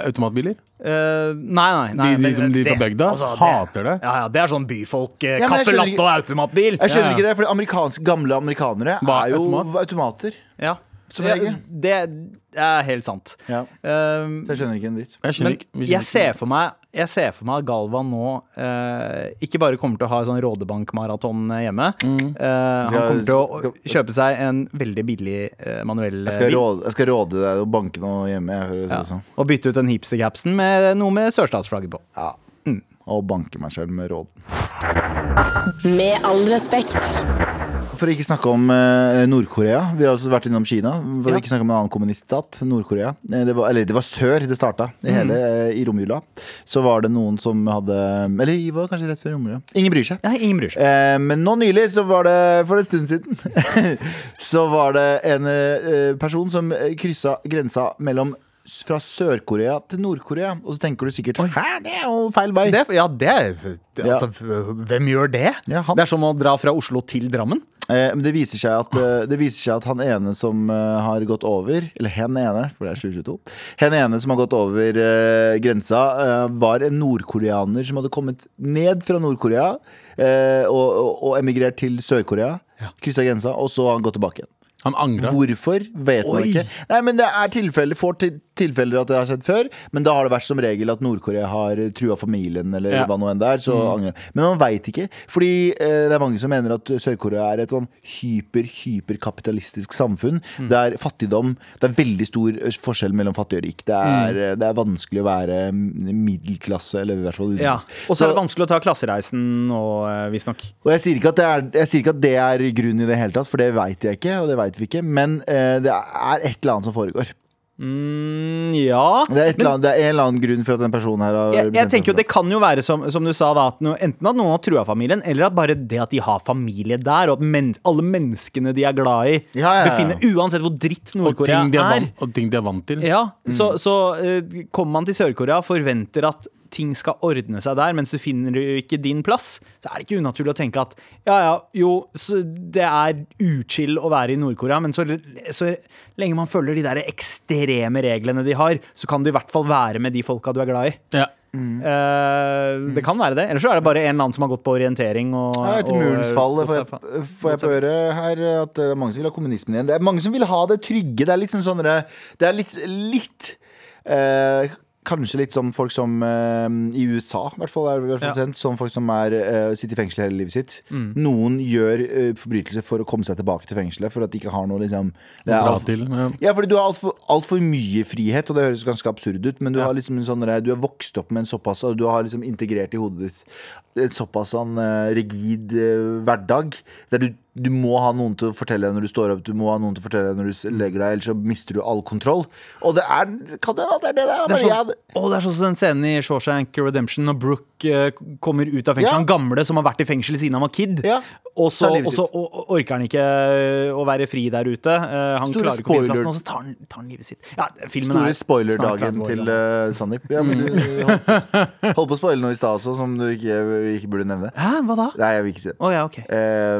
Speaker 3: automatbiler.
Speaker 1: Eh, nei, nei. nei
Speaker 3: De, de,
Speaker 1: men,
Speaker 3: som de
Speaker 1: det-
Speaker 3: fra bygda
Speaker 1: altså, det-
Speaker 3: hater det.
Speaker 1: Ja, ja, det er sånn byfolk. eh,
Speaker 2: Ja, men jeg
Speaker 1: Caffè
Speaker 2: skjønner
Speaker 1: latte
Speaker 2: ikke-
Speaker 1: og automatbil.
Speaker 2: Jeg skjønner
Speaker 3: Ja.
Speaker 2: ikke det, for amerikanske, gamle amerikanere
Speaker 3: Hva er
Speaker 2: er jo
Speaker 3: automat?
Speaker 2: automater.
Speaker 1: Ja.
Speaker 2: Som regel.
Speaker 1: Ja, Det er helt sant.
Speaker 2: Ja.
Speaker 1: Eh,
Speaker 2: Så jeg skjønner ikke en dritt.
Speaker 3: Jeg skjønner
Speaker 1: men
Speaker 3: ikke. vi skjønner
Speaker 1: jeg ser
Speaker 3: ikke.
Speaker 1: for meg Jeg ser for meg at Galvan nå eh, ikke bare kommer til å ha sånn Rådebankmaraton hjemme.
Speaker 3: Mm.
Speaker 1: eh, han
Speaker 2: Skal-
Speaker 1: kommer til å
Speaker 2: skal-
Speaker 1: kjøpe seg en veldig billig eh, manuell
Speaker 2: Jeg skal,
Speaker 1: bil.
Speaker 2: råde, jeg skal råde deg å banke noe hjemme. Jeg hører det
Speaker 1: Ja.
Speaker 2: sånn.
Speaker 1: Og bytte ut den hipster-capsen med noe med sørstatsflagget på.
Speaker 2: Ja. og banke meg selv med råd.
Speaker 4: Med all respekt.
Speaker 2: For å ikke snakke om eh, Nord-Korea. Vi har også vært innom Kina. For å ikke snakke om en annen kommuniststat, Nord-Korea. Eh, det var- Eller det var sør det starta.
Speaker 3: Mm.
Speaker 2: I, hele, eh, I romjula så var det noen som hadde Eller det var kanskje rett før romjula. Ingen bryr seg.
Speaker 1: Nei, ingen bryr seg.
Speaker 2: Eh, men nå nylig, så var det for en stund siden, så var det en eh, person som eh, kryssa grensa mellom s- fra Sør-Korea til Nord-Korea. Og så tenker du sikkert Hæ, det er jo feil vei.
Speaker 1: Det, ja, det er det-
Speaker 2: Ja.
Speaker 1: altså, Hvem gjør det?
Speaker 2: Ja, han.
Speaker 1: Det er som å dra fra Oslo til Drammen.
Speaker 2: Eh, Men det viser, seg at, eh, det viser seg at han ene som eh, har gått over Eller hen ene, for det er 2022 Hen ene som har gått over eh, grensa eh, Var en nordkoreaner som hadde kommet ned fra Nordkorea eh, og, og, og emigrert til Sør-Korea Krysset grensa, og så har han gått tilbake igjen
Speaker 3: Han angra.
Speaker 2: Hvorfor, vet man
Speaker 1: Oi.
Speaker 2: ikke Nei, men det er tilfeller, får til, tilfeller at det har skjedd før Men da har det vært som regel at Nordkorea har trua familien Eller
Speaker 3: Ja.
Speaker 2: hva nå enn det er så
Speaker 1: Mm.
Speaker 2: angrer. Men man vet ikke Fordi eh, det er mange som mener at Sør-Korea er et sånn hyper-hyperkapitalistisk samfunn
Speaker 1: Mm.
Speaker 2: Der fattigdom Det er veldig stor eh, forskjell mellom fattig og rik Det er,
Speaker 1: Mm.
Speaker 2: eh, det er vanskelig å være mm, middelklasse Eller i hvert fall
Speaker 1: Ja.
Speaker 2: utenlands.
Speaker 1: Og så er det
Speaker 2: Så-
Speaker 1: vanskelig å ta klassereisen og eh, visstnok.
Speaker 2: og jeg sier, ikke at det er, jeg sier ikke at det er grunnen i det hele tatt, for det veit jeg ikke. Og det vet vi ikke Men eh, det er et eller annet som foregår.
Speaker 1: Mm, ja.
Speaker 2: Det er, et eller annet, det er en eller annen grunn for at den personen her har
Speaker 1: Jeg, jeg
Speaker 2: bestemt seg
Speaker 1: tenker jo
Speaker 2: for
Speaker 1: Det kan jo være som, som du sa, da, at no, enten at noen har trua familien, eller at bare det at de har familie der, og at men, alle menneskene de er glad i,
Speaker 2: Ja, ja, ja.
Speaker 1: befinner Uansett hvor dritt
Speaker 3: Og
Speaker 1: Nord-Korea
Speaker 3: ting, de er
Speaker 1: er.
Speaker 3: vant, og ting de er vant til.
Speaker 1: Ja,
Speaker 2: Mm.
Speaker 1: Så, så eh, kommer man til Sør-Korea og forventer at ting skal ordne seg der, mens du finner jo ikke din plass, så er det ikke unaturlig å tenke at ja, ja, jo, så det er uchill å være i Nord-Korea, men så, så lenge man følger de der ekstreme reglene de har, så kan du i hvert fall være med de folka du er glad i.
Speaker 3: Ja.
Speaker 1: Mm.
Speaker 2: Mm.
Speaker 1: Eh, det kan være det. Eller så er det bare en eller annen som har gått på orientering. Og,
Speaker 2: Ja, etter
Speaker 1: og,
Speaker 2: murens fall
Speaker 1: og-
Speaker 2: får jeg, får jeg på høre her at det er mange som vil ha kommunismen igjen. Det er mange som vil ha det trygge. Det er litt sånn sånn Det er litt, litt eh, Kanskje litt sånn folk som eh, i USA, i hvert fall er det represent, sånn folk som er, eh, sitter i fengsel hele livet sitt.
Speaker 1: Mm.
Speaker 2: Noen gjør eh, forbrytelser for å komme seg tilbake til fengselet, for at de ikke har noe liksom det er
Speaker 3: Dra
Speaker 2: alt-
Speaker 3: til. Ja.
Speaker 2: ja, fordi du har altfor alt for mye frihet, og det høres ganske absurd ut, men du, har liksom en sånn, du er vokst opp med en såpass og Du har liksom integrert i hodet ditt en såpass sånn, eh, rigid eh, hverdag. Der du, du må ha noen til å fortelle deg når du står opp, du må ha noen til å fortelle deg når du s- legger deg, ellers så mister du all kontroll. Og det er Kan du hende at det er det
Speaker 1: Det
Speaker 2: der? Men
Speaker 1: er,
Speaker 2: jeg
Speaker 1: sånn,
Speaker 2: hadde-
Speaker 1: å, det er sånn som den scenen i Shawshank Redemption når Brooke eh, kommer ut av fengsel.
Speaker 2: Ja.
Speaker 1: Han gamle som har vært i fengsel siden han var kid.
Speaker 2: Ja.
Speaker 1: Og så
Speaker 2: Tar livet
Speaker 1: og så o- o- orker han ikke eh, å være fri der ute. Eh, han
Speaker 2: Store
Speaker 1: klarer ikke å finne
Speaker 2: spoiler.
Speaker 1: plassen, og så tar han, tar han livet sitt. Ja, filmen
Speaker 2: Store
Speaker 1: er snart
Speaker 2: spoilerdagen
Speaker 1: 30 år
Speaker 2: til
Speaker 1: gammel.
Speaker 2: eh, Sandeep. Ja, men
Speaker 1: Mm.
Speaker 2: du holdt, holdt på å spoile noe i stad også, som du ikke, ikke burde nevne.
Speaker 1: Hæ, hva da? Å
Speaker 2: Nei, jeg vil ikke si det.
Speaker 1: ja, ok.
Speaker 2: Eh,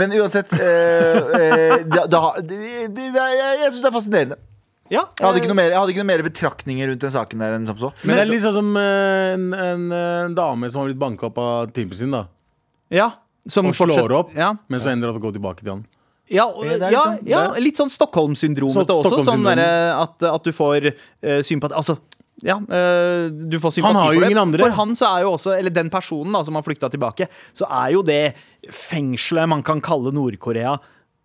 Speaker 2: men uansett eh, eh, da, da, det, det, det, Jeg, jeg syns det er fascinerende.
Speaker 1: Ja,
Speaker 2: Jeg hadde, ikke
Speaker 1: eh,
Speaker 2: noe mer, jeg hadde ikke noe mer betraktninger rundt den saken der enn som så.
Speaker 3: Men det er litt sånn som eh, en, en, eh, dame som har blitt banka opp av teamet sin, da.
Speaker 1: ja, som
Speaker 3: Og slår
Speaker 1: fortsatt-
Speaker 3: opp,
Speaker 1: Ja,
Speaker 3: men så ender det opp å gå tilbake til han.
Speaker 1: Ja, og,
Speaker 2: Ja, det er litt
Speaker 1: ja,
Speaker 2: sånn-
Speaker 1: ja litt sånn Stockholm-syndromet
Speaker 3: liksom? Så-
Speaker 1: også. Sånn
Speaker 3: Stockholm-syndromet.
Speaker 1: derre at, at du får eh, sympati Altså, ja, eh, du får sympati
Speaker 3: Han har jo
Speaker 1: for det.
Speaker 3: ingen andre.
Speaker 1: For han så er jo også, eller den personen da, som har flykta tilbake, så er jo det fengselet man kan kalle Nord-Korea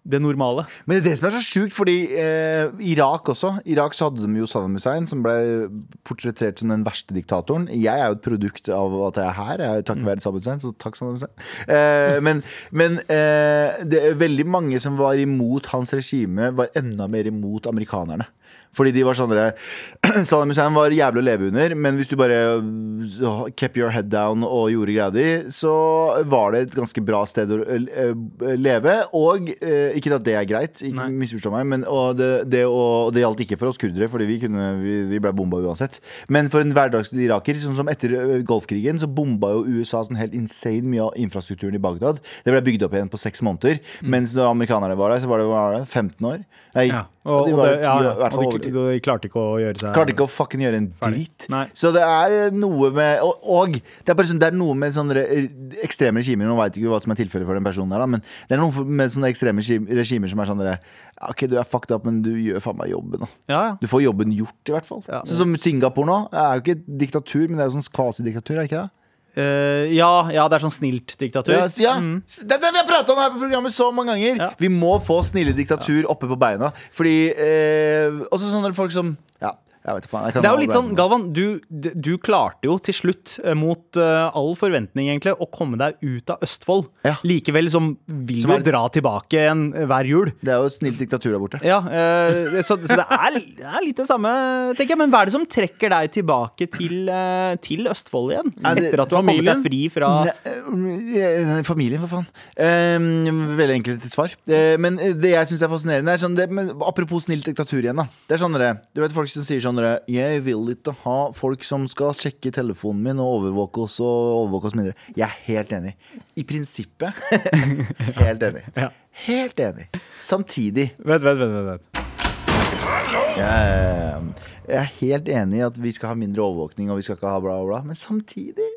Speaker 1: det normale.
Speaker 2: Men det er det som er så sjukt, fordi eh, Irak også. Irak så hadde de jo Saddam Hussein, som ble portrettert som den verste diktatoren. Jeg er jo et produkt av at jeg er her, jeg er jo
Speaker 3: Mm.
Speaker 2: takket være Saddam Hussein, så takk Saddam Hussein. Eh, men men eh, det er veldig mange som var imot hans regime, var enda mer imot amerikanerne. Fordi de var sånn der- Saddam Hussein var jævlig å leve under, men hvis du bare øh, kept your head down og gjorde greia di, så var det et ganske bra sted å øh, øh, leve. Og øh, ikke at det er greit, ikke misforstå meg, men og det, det, å- og det gjaldt ikke for oss kurdere, fordi vi, kunne, vi, vi ble bomba uansett. Men for en hverdagsiraker, sånn som etter øh, Golfkrigen, så bomba jo USA sånn helt insane mye av infrastrukturen i Bagdad. Det ble bygd opp igjen på seks måneder, mens når amerikanerne var der, så var det, var det 15 år. Nei,
Speaker 1: Og,
Speaker 2: de
Speaker 1: og,
Speaker 2: var
Speaker 1: det, ja,
Speaker 2: jo ti år,
Speaker 1: ja,
Speaker 2: i hvert fall
Speaker 1: og
Speaker 2: over
Speaker 1: de,
Speaker 2: ti.
Speaker 1: de klarte ikke å gjøre seg
Speaker 2: Klarte ikke å fucking gjøre en dritt.
Speaker 1: Nei.
Speaker 2: Så det er eh, noe med Og, og det, er bare sånn, det er noe med sånne re- ekstreme regimer Nå veit ikke hva som er tilfellet for den personen her, da, men det er noe for- med sånne ekstreme regim- regimer som er sånn derre OK, du er fucked up, men du gjør faen meg jobben. Da.
Speaker 1: Ja, ja.
Speaker 2: Du får jobben gjort, i hvert fall.
Speaker 1: Ja.
Speaker 2: Sånn som Singapore nå. Det er jo ikke et diktatur, men det er jo sånn kvasidiktatur, er det ikke det?
Speaker 1: Eh, ja, ja, det er sånn snilt diktatur.
Speaker 2: Ja, så ja. Det er det vi har prata om her på programmet så mange ganger!
Speaker 1: Mm. Ja.
Speaker 2: Vi må få snille diktatur oppe på beina. Fordi eh, Også sånne folk som ja, Jeg vet ikke faen. Jeg kan
Speaker 1: Det er
Speaker 2: ha
Speaker 1: jo litt sånn,
Speaker 2: random.
Speaker 1: Galvan, du, d- du klarte jo til slutt, eh, mot eh, all forventning egentlig, å komme deg ut av Østfold.
Speaker 2: Ja.
Speaker 1: Likevel som vil
Speaker 2: Som
Speaker 1: jo
Speaker 2: er-
Speaker 1: dra tilbake igjen eh, hver jul.
Speaker 2: Det er jo et snilt diktatur der borte.
Speaker 1: Ja, eh, så, så det, er, det er litt det samme, tenker jeg. Men hva er det som trekker deg tilbake til, eh, til Østfold igjen?
Speaker 2: Er det
Speaker 1: Etter at du har kommet deg
Speaker 3: familien?
Speaker 1: fri fra
Speaker 2: Nei, eh, eh, Familien, for faen. Eh, veldig enkelt svar. Eh, men det jeg syns er fascinerende, er sånn det, men Apropos snilt diktatur igjen, da. Det er sånn dere, Du vet folk som sier sånn dere Jeg vil ikke ha folk som skal sjekke telefonen min og overvåke oss og overvåke oss mindre. Jeg er helt enig. I prinsippet helt enig.
Speaker 1: Ja.
Speaker 2: Helt enig. Samtidig
Speaker 1: Vent, vent, vent. vent, vent.
Speaker 2: jeg, jeg er helt enig i at vi skal ha mindre overvåkning, og vi skal ikke ha bla, bla, bla. Men samtidig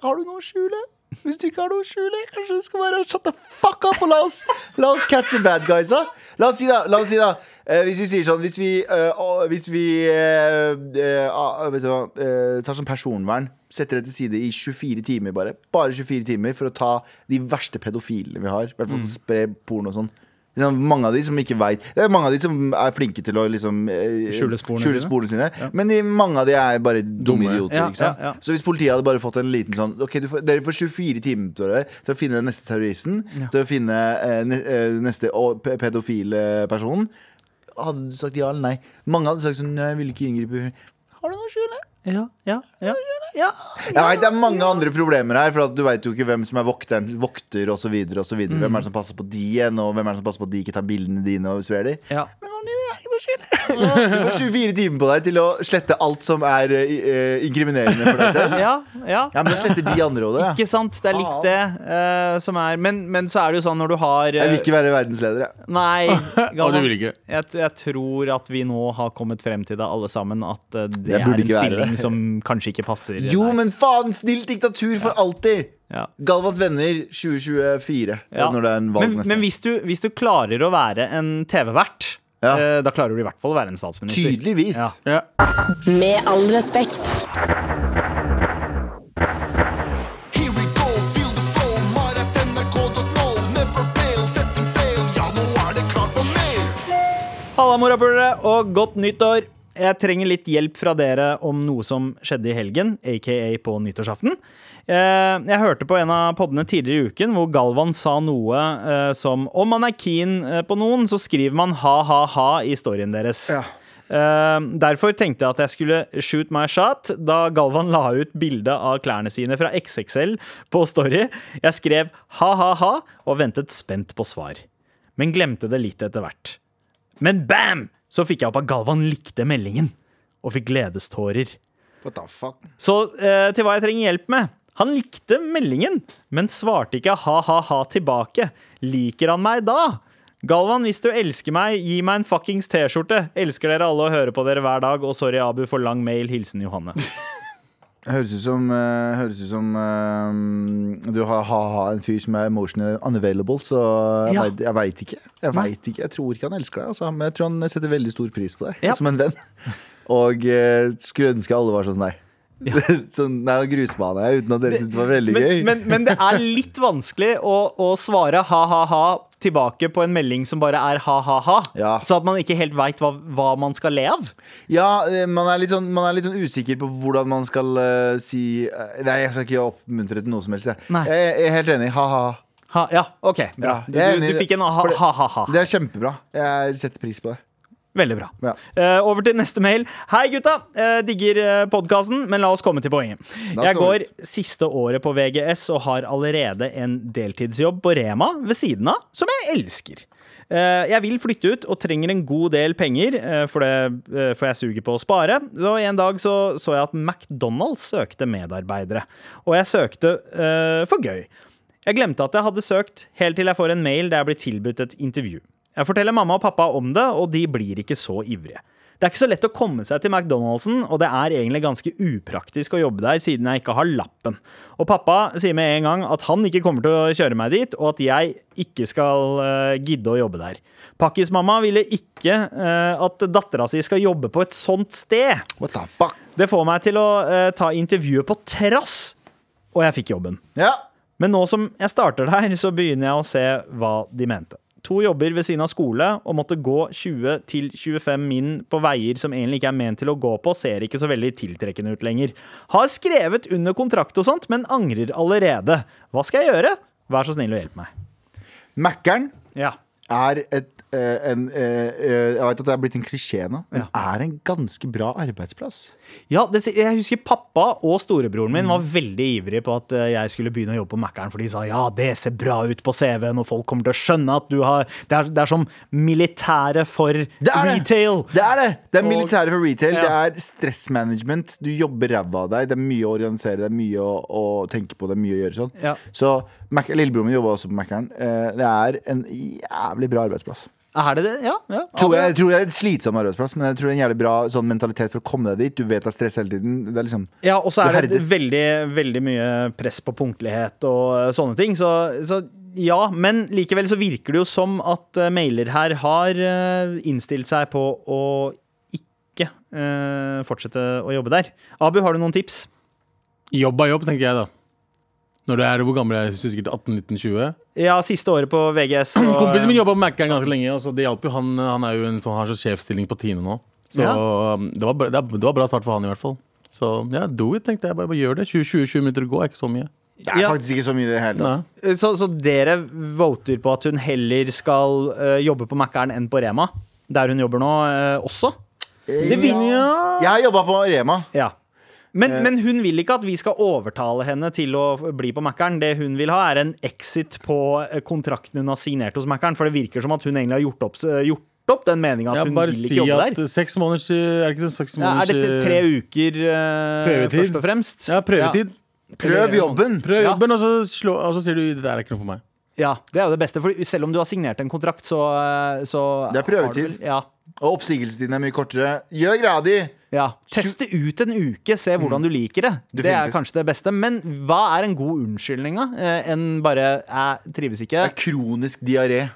Speaker 2: har du noe å skjule. Hvis du ikke har noe å skjule, kanskje du skal bare shut the fuck up og la oss, la oss catch the bad guys, da. La oss si, da. La oss si da eh, hvis vi sier sånn Hvis vi, eh, å- hvis vi eh, eh, ah, vet du hva, eh, tar sånn personvern, setter det til side i 24 timer bare. Bare 24 timer for å ta de verste pedofilene vi har. I hvert fall
Speaker 1: Mm.
Speaker 2: som sprer porno og sånn. Det er Mange av de som ikke vet Det er mange av de som er flinke til å liksom, eh,
Speaker 1: Skjule sporene sine.
Speaker 2: sporene sine. Men de, mange av de er bare dumme
Speaker 3: Dumme.
Speaker 2: idioter.
Speaker 1: Ja,
Speaker 2: ikke sant?
Speaker 1: ja, ja.
Speaker 2: Så hvis politiet hadde bare fått en liten sånn Ok, du får, Dere får 24 timer til dere til å finne den neste terroristen, til å finne eh, ne, eh, neste å, pe- pedofile personen. Hadde du sagt ja eller nei? Mange hadde sagt sånn Nei, jeg ville ikke inngripe. Har du noe å skjule?
Speaker 1: Ja, ja, ja.
Speaker 2: Jeg vet, Det er mange andre problemer her, for at du veit jo ikke hvem som er vokteren, vokter osv. Mm. Hvem er det som passer på de igjen, og hvem er det som passer på at de ikke tar bildene dine og sprer de?
Speaker 1: ja.
Speaker 2: Men han gjør ikke noe skyld. Du får 24 timer på deg til å slette alt som er eh, eh, inkriminerende for deg selv.
Speaker 1: ja, ja.
Speaker 2: Ja, men da sletter de andre òg, det.
Speaker 1: Ikke sant? Det er litt det eh, som er men, men så er det jo sånn når du har eh,
Speaker 2: Jeg vil ikke være verdensleder, jeg.
Speaker 1: Nei,
Speaker 2: Ah,
Speaker 3: Og du
Speaker 1: Galvan.
Speaker 3: vil ikke.
Speaker 1: Jeg, t- jeg tror at vi nå har kommet frem til det alle sammen, at eh, det
Speaker 2: Jeg
Speaker 1: er
Speaker 2: burde
Speaker 1: en
Speaker 2: ikke være
Speaker 1: stilling
Speaker 2: det.
Speaker 1: som kanskje ikke passer.
Speaker 2: Jo,
Speaker 1: deg.
Speaker 2: men faen! Snilt diktatur for alltid!
Speaker 1: Ja.
Speaker 2: Galvans venner 2024,
Speaker 1: Ja.
Speaker 2: når det er en valg
Speaker 1: men,
Speaker 2: neste.
Speaker 1: men hvis du, hvis du klarer å være en TV-vert,
Speaker 2: Ja.
Speaker 1: eh, da klarer du i hvert fall å være en statsminister.
Speaker 2: Tydeligvis.
Speaker 1: Ja.
Speaker 3: Ja.
Speaker 4: Med all respekt.
Speaker 5: Here we go, feel the flow, maratnrk.no. Never fail, setting sail, ja nå er det klart for mer.
Speaker 1: Halla, morapulere, og godt nyttår! Jeg trenger litt hjelp fra dere om noe som skjedde i helgen, aka på nyttårsaften. Eh, Jeg hørte på en av poddene tidligere i uken hvor Galvan sa noe eh, som om man er keen eh, på noen, så skriver man ha-ha-ha i storyen deres.
Speaker 2: Ja.
Speaker 1: Eh, Derfor tenkte jeg at jeg skulle shoot my shot da Galvan la ut bilde av klærne sine fra XXL på Story. Jeg skrev ha-ha-ha og ventet spent på svar, men glemte det litt etter hvert. Men bam! Så fikk jeg opp at Galvan likte meldingen, og fikk gledestårer.
Speaker 2: What the fuck?
Speaker 1: Så eh, til hva jeg trenger hjelp med. Han likte meldingen, men svarte ikke ha-ha-ha tilbake. Liker han meg da? Galvan, hvis du elsker meg, gi meg en fuckings T-skjorte. Elsker dere alle og hører på dere hver dag. Og sorry, Abu, for lang mail. Hilsen Johanne.
Speaker 2: Høres ut som, eh, høres ut som eh, du har ha-ha en fyr som er emotionally unavailable, så jeg
Speaker 1: Ja.
Speaker 2: vet- jeg veit ikke. Jeg vet ikke. Jeg tror ikke han elsker deg, altså, men jeg tror han setter veldig stor pris på deg
Speaker 1: Ja.
Speaker 2: som en venn. Og eh, skulle ønske alle var sånn som deg. sånn, nei, grusbane jeg, uten at dere syntes det var veldig
Speaker 1: Men,
Speaker 2: gøy.
Speaker 1: men, men det er litt vanskelig å, å svare ha-ha-ha tilbake på en melding som bare er ha-ha-ha.
Speaker 2: Ja.
Speaker 1: Så at man ikke helt veit hva, hva man skal le av.
Speaker 2: Ja, eh, man er, litt sånn, man er litt sånn usikker på hvordan man skal eh, si eh, Nei, jeg skal ikke oppmuntre til noe som helst. Jeg,
Speaker 1: Nei.
Speaker 2: jeg, jeg er helt enig. Ha-ha.
Speaker 1: Ha, ja, OK. Bra.
Speaker 2: Ja,
Speaker 1: Du,
Speaker 2: jeg
Speaker 1: du,
Speaker 2: er enig i
Speaker 1: du
Speaker 2: det.
Speaker 1: fikk en ha-
Speaker 2: For det-
Speaker 1: ha-ha-ha.
Speaker 2: Det er kjempebra. Jeg setter pris på det.
Speaker 1: Veldig bra.
Speaker 2: Ja.
Speaker 1: Eh, over til neste mail. Hei, gutta! Eh, digger eh, podkasten, men la oss komme til poenget.
Speaker 2: La oss
Speaker 1: Jeg
Speaker 2: komme
Speaker 1: går siste året på VGS og har allerede en deltidsjobb på Rema ved siden av, som jeg elsker. Eh, Jeg vil flytte ut og trenger en god del penger, eh, for, det, eh, for jeg suger på å spare. Så en dag så, så jeg at McDonald's søkte medarbeidere, og jeg søkte eh, for gøy. Jeg glemte at jeg hadde søkt, helt til jeg får en mail der jeg blir tilbudt et intervju. Jeg forteller mamma og pappa om det, og de blir ikke så ivrige. Det er ikke så lett å komme seg til McDonald'sen, og det er egentlig ganske upraktisk å jobbe der siden jeg ikke har lappen. Og pappa sier med en gang at han ikke kommer til å kjøre meg dit, og at jeg ikke skal eh, gidde å jobbe der. Pakkis-mamma ville ikke eh, at dattera si skal jobbe på et sånt sted.
Speaker 2: What the fuck?
Speaker 1: Det får meg til å eh, ta intervjuet på terrass, og jeg fikk jobben.
Speaker 2: Ja.
Speaker 1: Men nå som jeg starter der, så begynner jeg å se hva de mente. to jobber ved siden av skole og måtte gå 20-25 min på veier som egentlig ikke er ment til å gå på, ser ikke så veldig tiltrekkende ut lenger. Har skrevet under kontrakt og sånt, men angrer allerede. Hva skal jeg gjøre? Vær så snill og hjelp meg.
Speaker 2: Mækkern
Speaker 1: Ja.
Speaker 2: er et eh, en, eh, eh, jeg vet at det er blitt en klisjé nå, men er en ganske bra arbeidsplass.
Speaker 1: Ja, det, jeg husker pappa og storebroren min
Speaker 2: Mm.
Speaker 1: var veldig ivrig på at eh, jeg skulle begynne å jobbe på Mækkern, for de sa ja, det ser bra ut på CV-en, og folk kommer til å skjønne at du har Det er, det er som militæret for
Speaker 2: Det er det!
Speaker 1: retail.
Speaker 2: Det er det! Det er
Speaker 1: Og-
Speaker 2: militæret for retail.
Speaker 1: Ja.
Speaker 2: Det er stressmanagement. Du jobber ræva av deg. Det er mye å organisere, det er mye å, å tenke på, det er mye å gjøre sånn.
Speaker 1: Ja.
Speaker 2: Så Mac- lillebroren min jobba også på Mækkern. Eh, det er en jævlig bra arbeidsplass.
Speaker 1: Er det det? Ja. ja.
Speaker 2: Tror jeg, jeg tror det er en slitsom arbeidsplass, men jeg tror det er en jævlig bra sånn, mentalitet for å komme deg dit. Du vet det er stress hele tiden. Det er liksom
Speaker 1: Ja, og så
Speaker 2: Du
Speaker 1: er det
Speaker 2: herdes.
Speaker 1: veldig, veldig mye press på punktlighet og eh, sånne ting. Så, så ja, men likevel så virker det jo som at eh, mailer her har eh, innstilt seg på å ikke eh, fortsette å jobbe der. Abu, har du noen tips?
Speaker 3: Jobb er jobb, tenker jeg da. Når du er hvor gammel er du? Sikkert 18-19-20?
Speaker 1: Ja, siste året på VGS. og-
Speaker 3: Kompisen min jobba på Mac-en ganske lenge, og så det hjalp jo. Han, han er jo en sånn, har sånn sjefsstilling på Tine nå. Så um, det, var bra, det, er- det var bra start for han, i hvert fall. Så ja, do it, tenkte jeg. Bare, bare gjør det. 20-20 minutter å gå er ikke så mye.
Speaker 2: Det er
Speaker 1: Ja.
Speaker 2: faktisk ikke så mye i det hele tatt.
Speaker 3: Nei.
Speaker 1: eh, Så, så dere voter på at hun heller skal eh, jobbe på Mækkern enn på Rema, der hun jobber nå eh, også? Det vil,
Speaker 2: Jeg har jobba på Rema.
Speaker 1: Ja. Men,
Speaker 2: Eh.
Speaker 1: men hun vil ikke at vi skal overtale henne til å bli på Mækkern. Det hun vil ha, er en exit på eh, kontrakten hun har signert hos Mækkern. For det virker som at hun egentlig har gjort opp, eh, gjort opp den meninga at
Speaker 3: Ja,
Speaker 1: hun
Speaker 3: bare
Speaker 1: vil ikke
Speaker 3: si
Speaker 1: jobbe
Speaker 3: at
Speaker 1: der.
Speaker 3: seks måneders Er det ikke sånn seks
Speaker 1: Ja, er
Speaker 3: måneders
Speaker 1: dette tre uker, eh,
Speaker 3: Prøvetid?
Speaker 1: først og fremst?
Speaker 3: Ja, prøvetid.
Speaker 2: Prøv jobben.
Speaker 3: Prøv
Speaker 1: Ja.
Speaker 3: jobben, og, så slå, og så sier du det der er ikke noe for meg.
Speaker 1: Ja, det er jo det beste. For selv om du har signert en kontrakt, så, eh, så
Speaker 2: Det er
Speaker 1: har du
Speaker 2: prøvetid.
Speaker 1: vel- Ja,
Speaker 2: Og oppsigelsestiden er mye kortere. Gjør greia di!
Speaker 1: ja. Test det ut en uke, se
Speaker 3: Mm.
Speaker 1: hvordan du liker det. Det er
Speaker 2: Definitivt.
Speaker 1: kanskje det beste. Men hva er en god unnskyldning, da? Eh, Enn bare 'jeg trives ikke'.
Speaker 2: Det er kronisk diaré.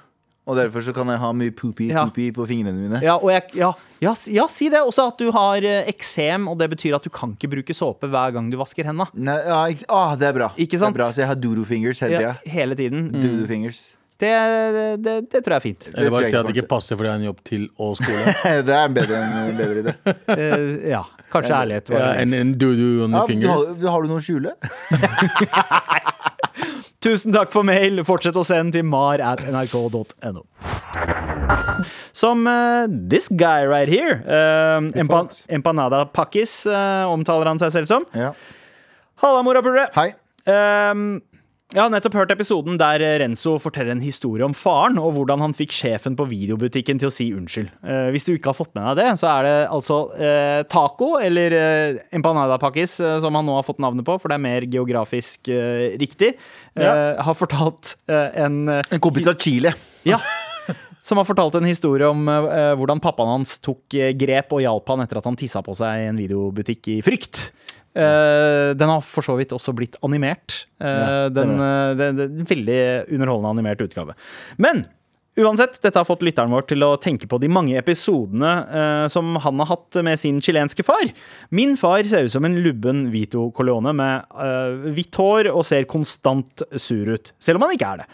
Speaker 2: Og derfor så kan jeg ha mye poopy,
Speaker 1: Ja.
Speaker 2: poopy på fingrene mine.
Speaker 1: Ja, og jeg, ja, ja, s- ja, si det. Også at du har eh, eksem, og det betyr at du kan ikke bruke såpe hver gang du vasker henda.
Speaker 2: Nei, ja, ikke, ah, det er bra.
Speaker 1: Ikke sant?
Speaker 2: Det er bra. Så jeg har doodoo fingers hele
Speaker 1: Ja,
Speaker 2: tida.
Speaker 1: hele tiden.
Speaker 2: Doodoo fingers.
Speaker 1: Det, det, det tror jeg er fint.
Speaker 3: Eller
Speaker 2: tror
Speaker 3: bare
Speaker 2: jeg
Speaker 3: si
Speaker 2: ikke
Speaker 3: at det ikke passer fordi det er en jobb til og skole.
Speaker 2: Det er en bedre, en bedre idé.
Speaker 1: Eh, ja, Kanskje ærlighet var
Speaker 3: ja,
Speaker 1: det.
Speaker 3: en, en do-do on
Speaker 2: Ja,
Speaker 3: the
Speaker 2: men har,
Speaker 3: fingers.
Speaker 2: har du noe å skjule?
Speaker 1: Tusen takk for mail. Fortsett å sende til mar at nrk.no. Som eh, this guy right here, eh, empan
Speaker 2: fucks.
Speaker 1: Empanada Pakkis, eh, omtaler han seg selv som.
Speaker 2: Ja.
Speaker 1: Halla, morapulere.
Speaker 2: Hei.
Speaker 1: Ehm, jeg har nettopp hørt episoden der Renzo forteller en historie om faren, og hvordan han fikk sjefen på videobutikken til å si unnskyld. Eh, hvis du ikke har fått med deg det, så er det altså eh, taco, eller eh, empanada pakkis, eh, som han nå har fått navnet på, for det er mer geografisk eh, riktig, eh, har fortalt eh, en eh,
Speaker 2: En kompis fra Chile.
Speaker 1: ja. Som har fortalt en historie om eh, hvordan pappaen hans tok eh, grep og hjalp han etter at han tissa på seg i en videobutikk i frykt. Eh, den har for så vidt også blitt animert. Eh,
Speaker 2: Ja,
Speaker 1: den, eh, det, det, en veldig underholdende animert utgave. Men uansett, dette har fått lytteren vår til å tenke på de mange episodene eh, som han har hatt med sin chilenske far. Min far ser ut som en lubben Vito Colone med eh, hvitt hår og ser konstant sur ut. Selv om han ikke er det.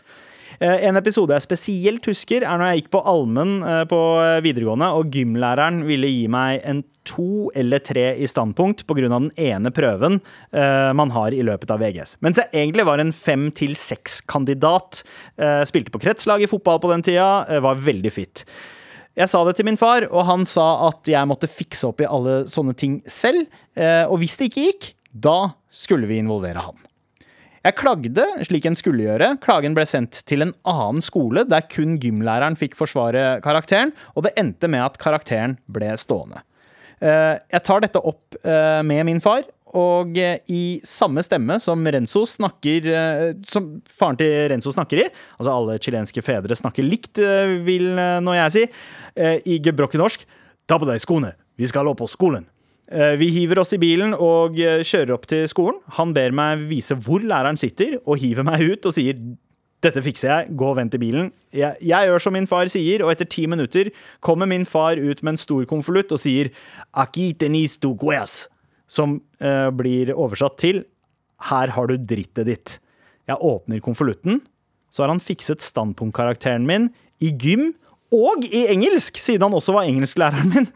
Speaker 1: Eh, En episode jeg spesielt husker, er når jeg gikk på allmenn eh, på eh, videregående, og gymlæreren ville gi meg en to eller tre i standpunkt pga. den ene prøven eh, man har i løpet av VGS. Mens jeg egentlig var en fem til seks-kandidat. eh, Spilte på kretslag i fotball på den tida, eh, var veldig fit. Jeg sa det til min far, og han sa at jeg måtte fikse opp i alle sånne ting selv. eh, Og hvis det ikke gikk, da skulle vi involvere han. Jeg klagde slik en skulle gjøre. Klagen ble sendt til en annen skole, der kun gymlæreren fikk forsvare karakteren, og det endte med at karakteren ble stående. Eh, Jeg tar dette opp eh, med min far, og eh, i samme stemme som Renzo snakker eh, Som faren til Renzo snakker i, altså alle chilenske fedre snakker likt, eh, vil eh, nå jeg si, eh, i gebrokken norsk Ta på deg skoene, vi skal opp på skolen. Eh, Vi hiver oss i bilen og eh, kjører opp til skolen. Han ber meg vise hvor læreren sitter, og hiver meg ut og sier dette fikser jeg, gå og vent i bilen. Jeg, jeg gjør som min far sier, og etter ti minutter kommer min far ut med en stor konvolutt og sier Aquí tenis tu gues, som eh, blir oversatt til Her har du drittet ditt. Jeg åpner konvolutten, så har han fikset standpunktkarakteren min i gym og i engelsk, siden han også var engelsklæreren min.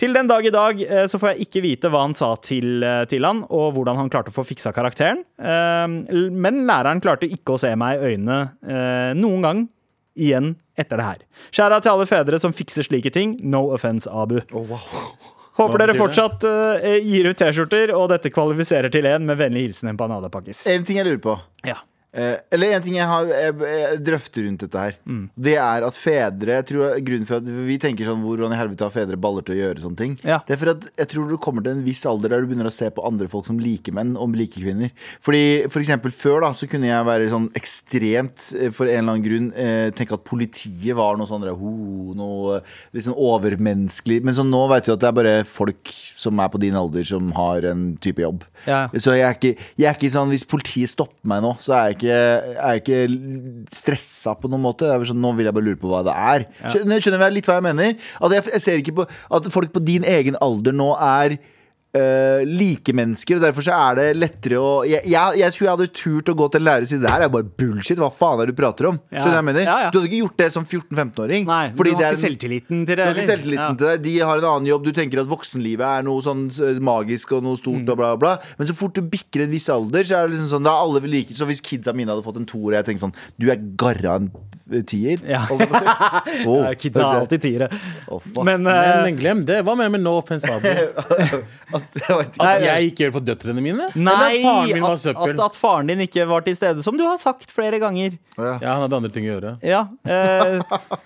Speaker 1: Til den dag i dag eh, så får jeg ikke vite hva han sa til, eh, til han, og hvordan han klarte å få fiksa karakteren. Eh, l- Men læreren klarte ikke å se meg i øynene eh, noen gang igjen etter det her. Skjæra til alle fedre som fikser slike ting. No offense, Abu. Håper
Speaker 3: Hva
Speaker 1: dere
Speaker 3: betyr det?
Speaker 1: fortsatt eh, gir ut T-skjorter, og dette kvalifiserer til en med vennlig hilsen en panadapakkis.
Speaker 2: En ting jeg lurer på.
Speaker 1: Ja.
Speaker 2: Eh, eller en ting jeg, har, jeg, jeg drøfter rundt dette her.
Speaker 1: Mm.
Speaker 2: Det er at fedre jeg tror, Grunnen for at vi tenker sånn Hvordan i helvete har fedre baller til å gjøre sånne ting?
Speaker 1: Ja.
Speaker 2: Det er for at jeg tror du kommer til en viss alder der du begynner å se på andre folk som likemenn og likekvinner. Fordi for eksempel før da Så kunne jeg være sånn ekstremt eh, For en eller annen grunn eh, tenke at politiet var noe sånn der, ho, Noe eh, litt sånn overmenneskelig. Men så nå vet du at det er bare folk som er på din alder, som har en type jobb.
Speaker 1: Ja.
Speaker 2: Så jeg er, ikke, jeg er ikke sånn Hvis politiet stopper meg nå, så er jeg ikke, er jeg ikke stressa på noen måte. Jeg er sånn, nå vil jeg bare lure på hva det er. Skjønner, skjønner jeg litt hva jeg mener? At jeg, jeg ser ikke på At folk på din egen alder nå er eh, likemennesker, og derfor så er det lettere å jeg, jeg, jeg tror jeg hadde turt å gå til en lærer og si det her er bare bullshit. Hva faen er det du prater om?
Speaker 1: Ja.
Speaker 2: Skjønner du hva jeg mener?
Speaker 1: Ja, ja.
Speaker 2: Du hadde ikke gjort det som 14-15-åring.
Speaker 1: Nei,
Speaker 2: fordi
Speaker 1: du har
Speaker 2: det er
Speaker 1: ikke
Speaker 2: en-
Speaker 1: selvtilliten til det.
Speaker 2: du har ikke
Speaker 1: eller?
Speaker 2: selvtilliten
Speaker 1: Ja.
Speaker 2: til deg. De har en annen jobb. Du tenker at voksenlivet er noe sånn eh, magisk og noe stort
Speaker 1: Mm.
Speaker 2: og bla, bla, bla. Men så fort du bikker en viss alder, så er det liksom sånn da er alle vil like Så hvis kidsa mine hadde fått en toer, og jeg tenker sånn Du er garra en eh, tier.
Speaker 1: Ja.
Speaker 2: holdt jeg på å si. Wow.
Speaker 1: Ja, Kidsa er alltid tiere.
Speaker 2: Å, fuck.
Speaker 1: Men eh,
Speaker 3: Men glem det. Hva mener du med no offense, Abu?
Speaker 2: At, jeg vet ikke.
Speaker 3: At jeg ikke gjør det for døtrene mine? Eller
Speaker 1: Nei,
Speaker 3: at faren min var
Speaker 1: at, at,
Speaker 3: søppel?
Speaker 1: at faren din ikke var til stede, som du har sagt flere ganger.
Speaker 3: Ja, han hadde andre ting å gjøre.
Speaker 1: Ja, eh,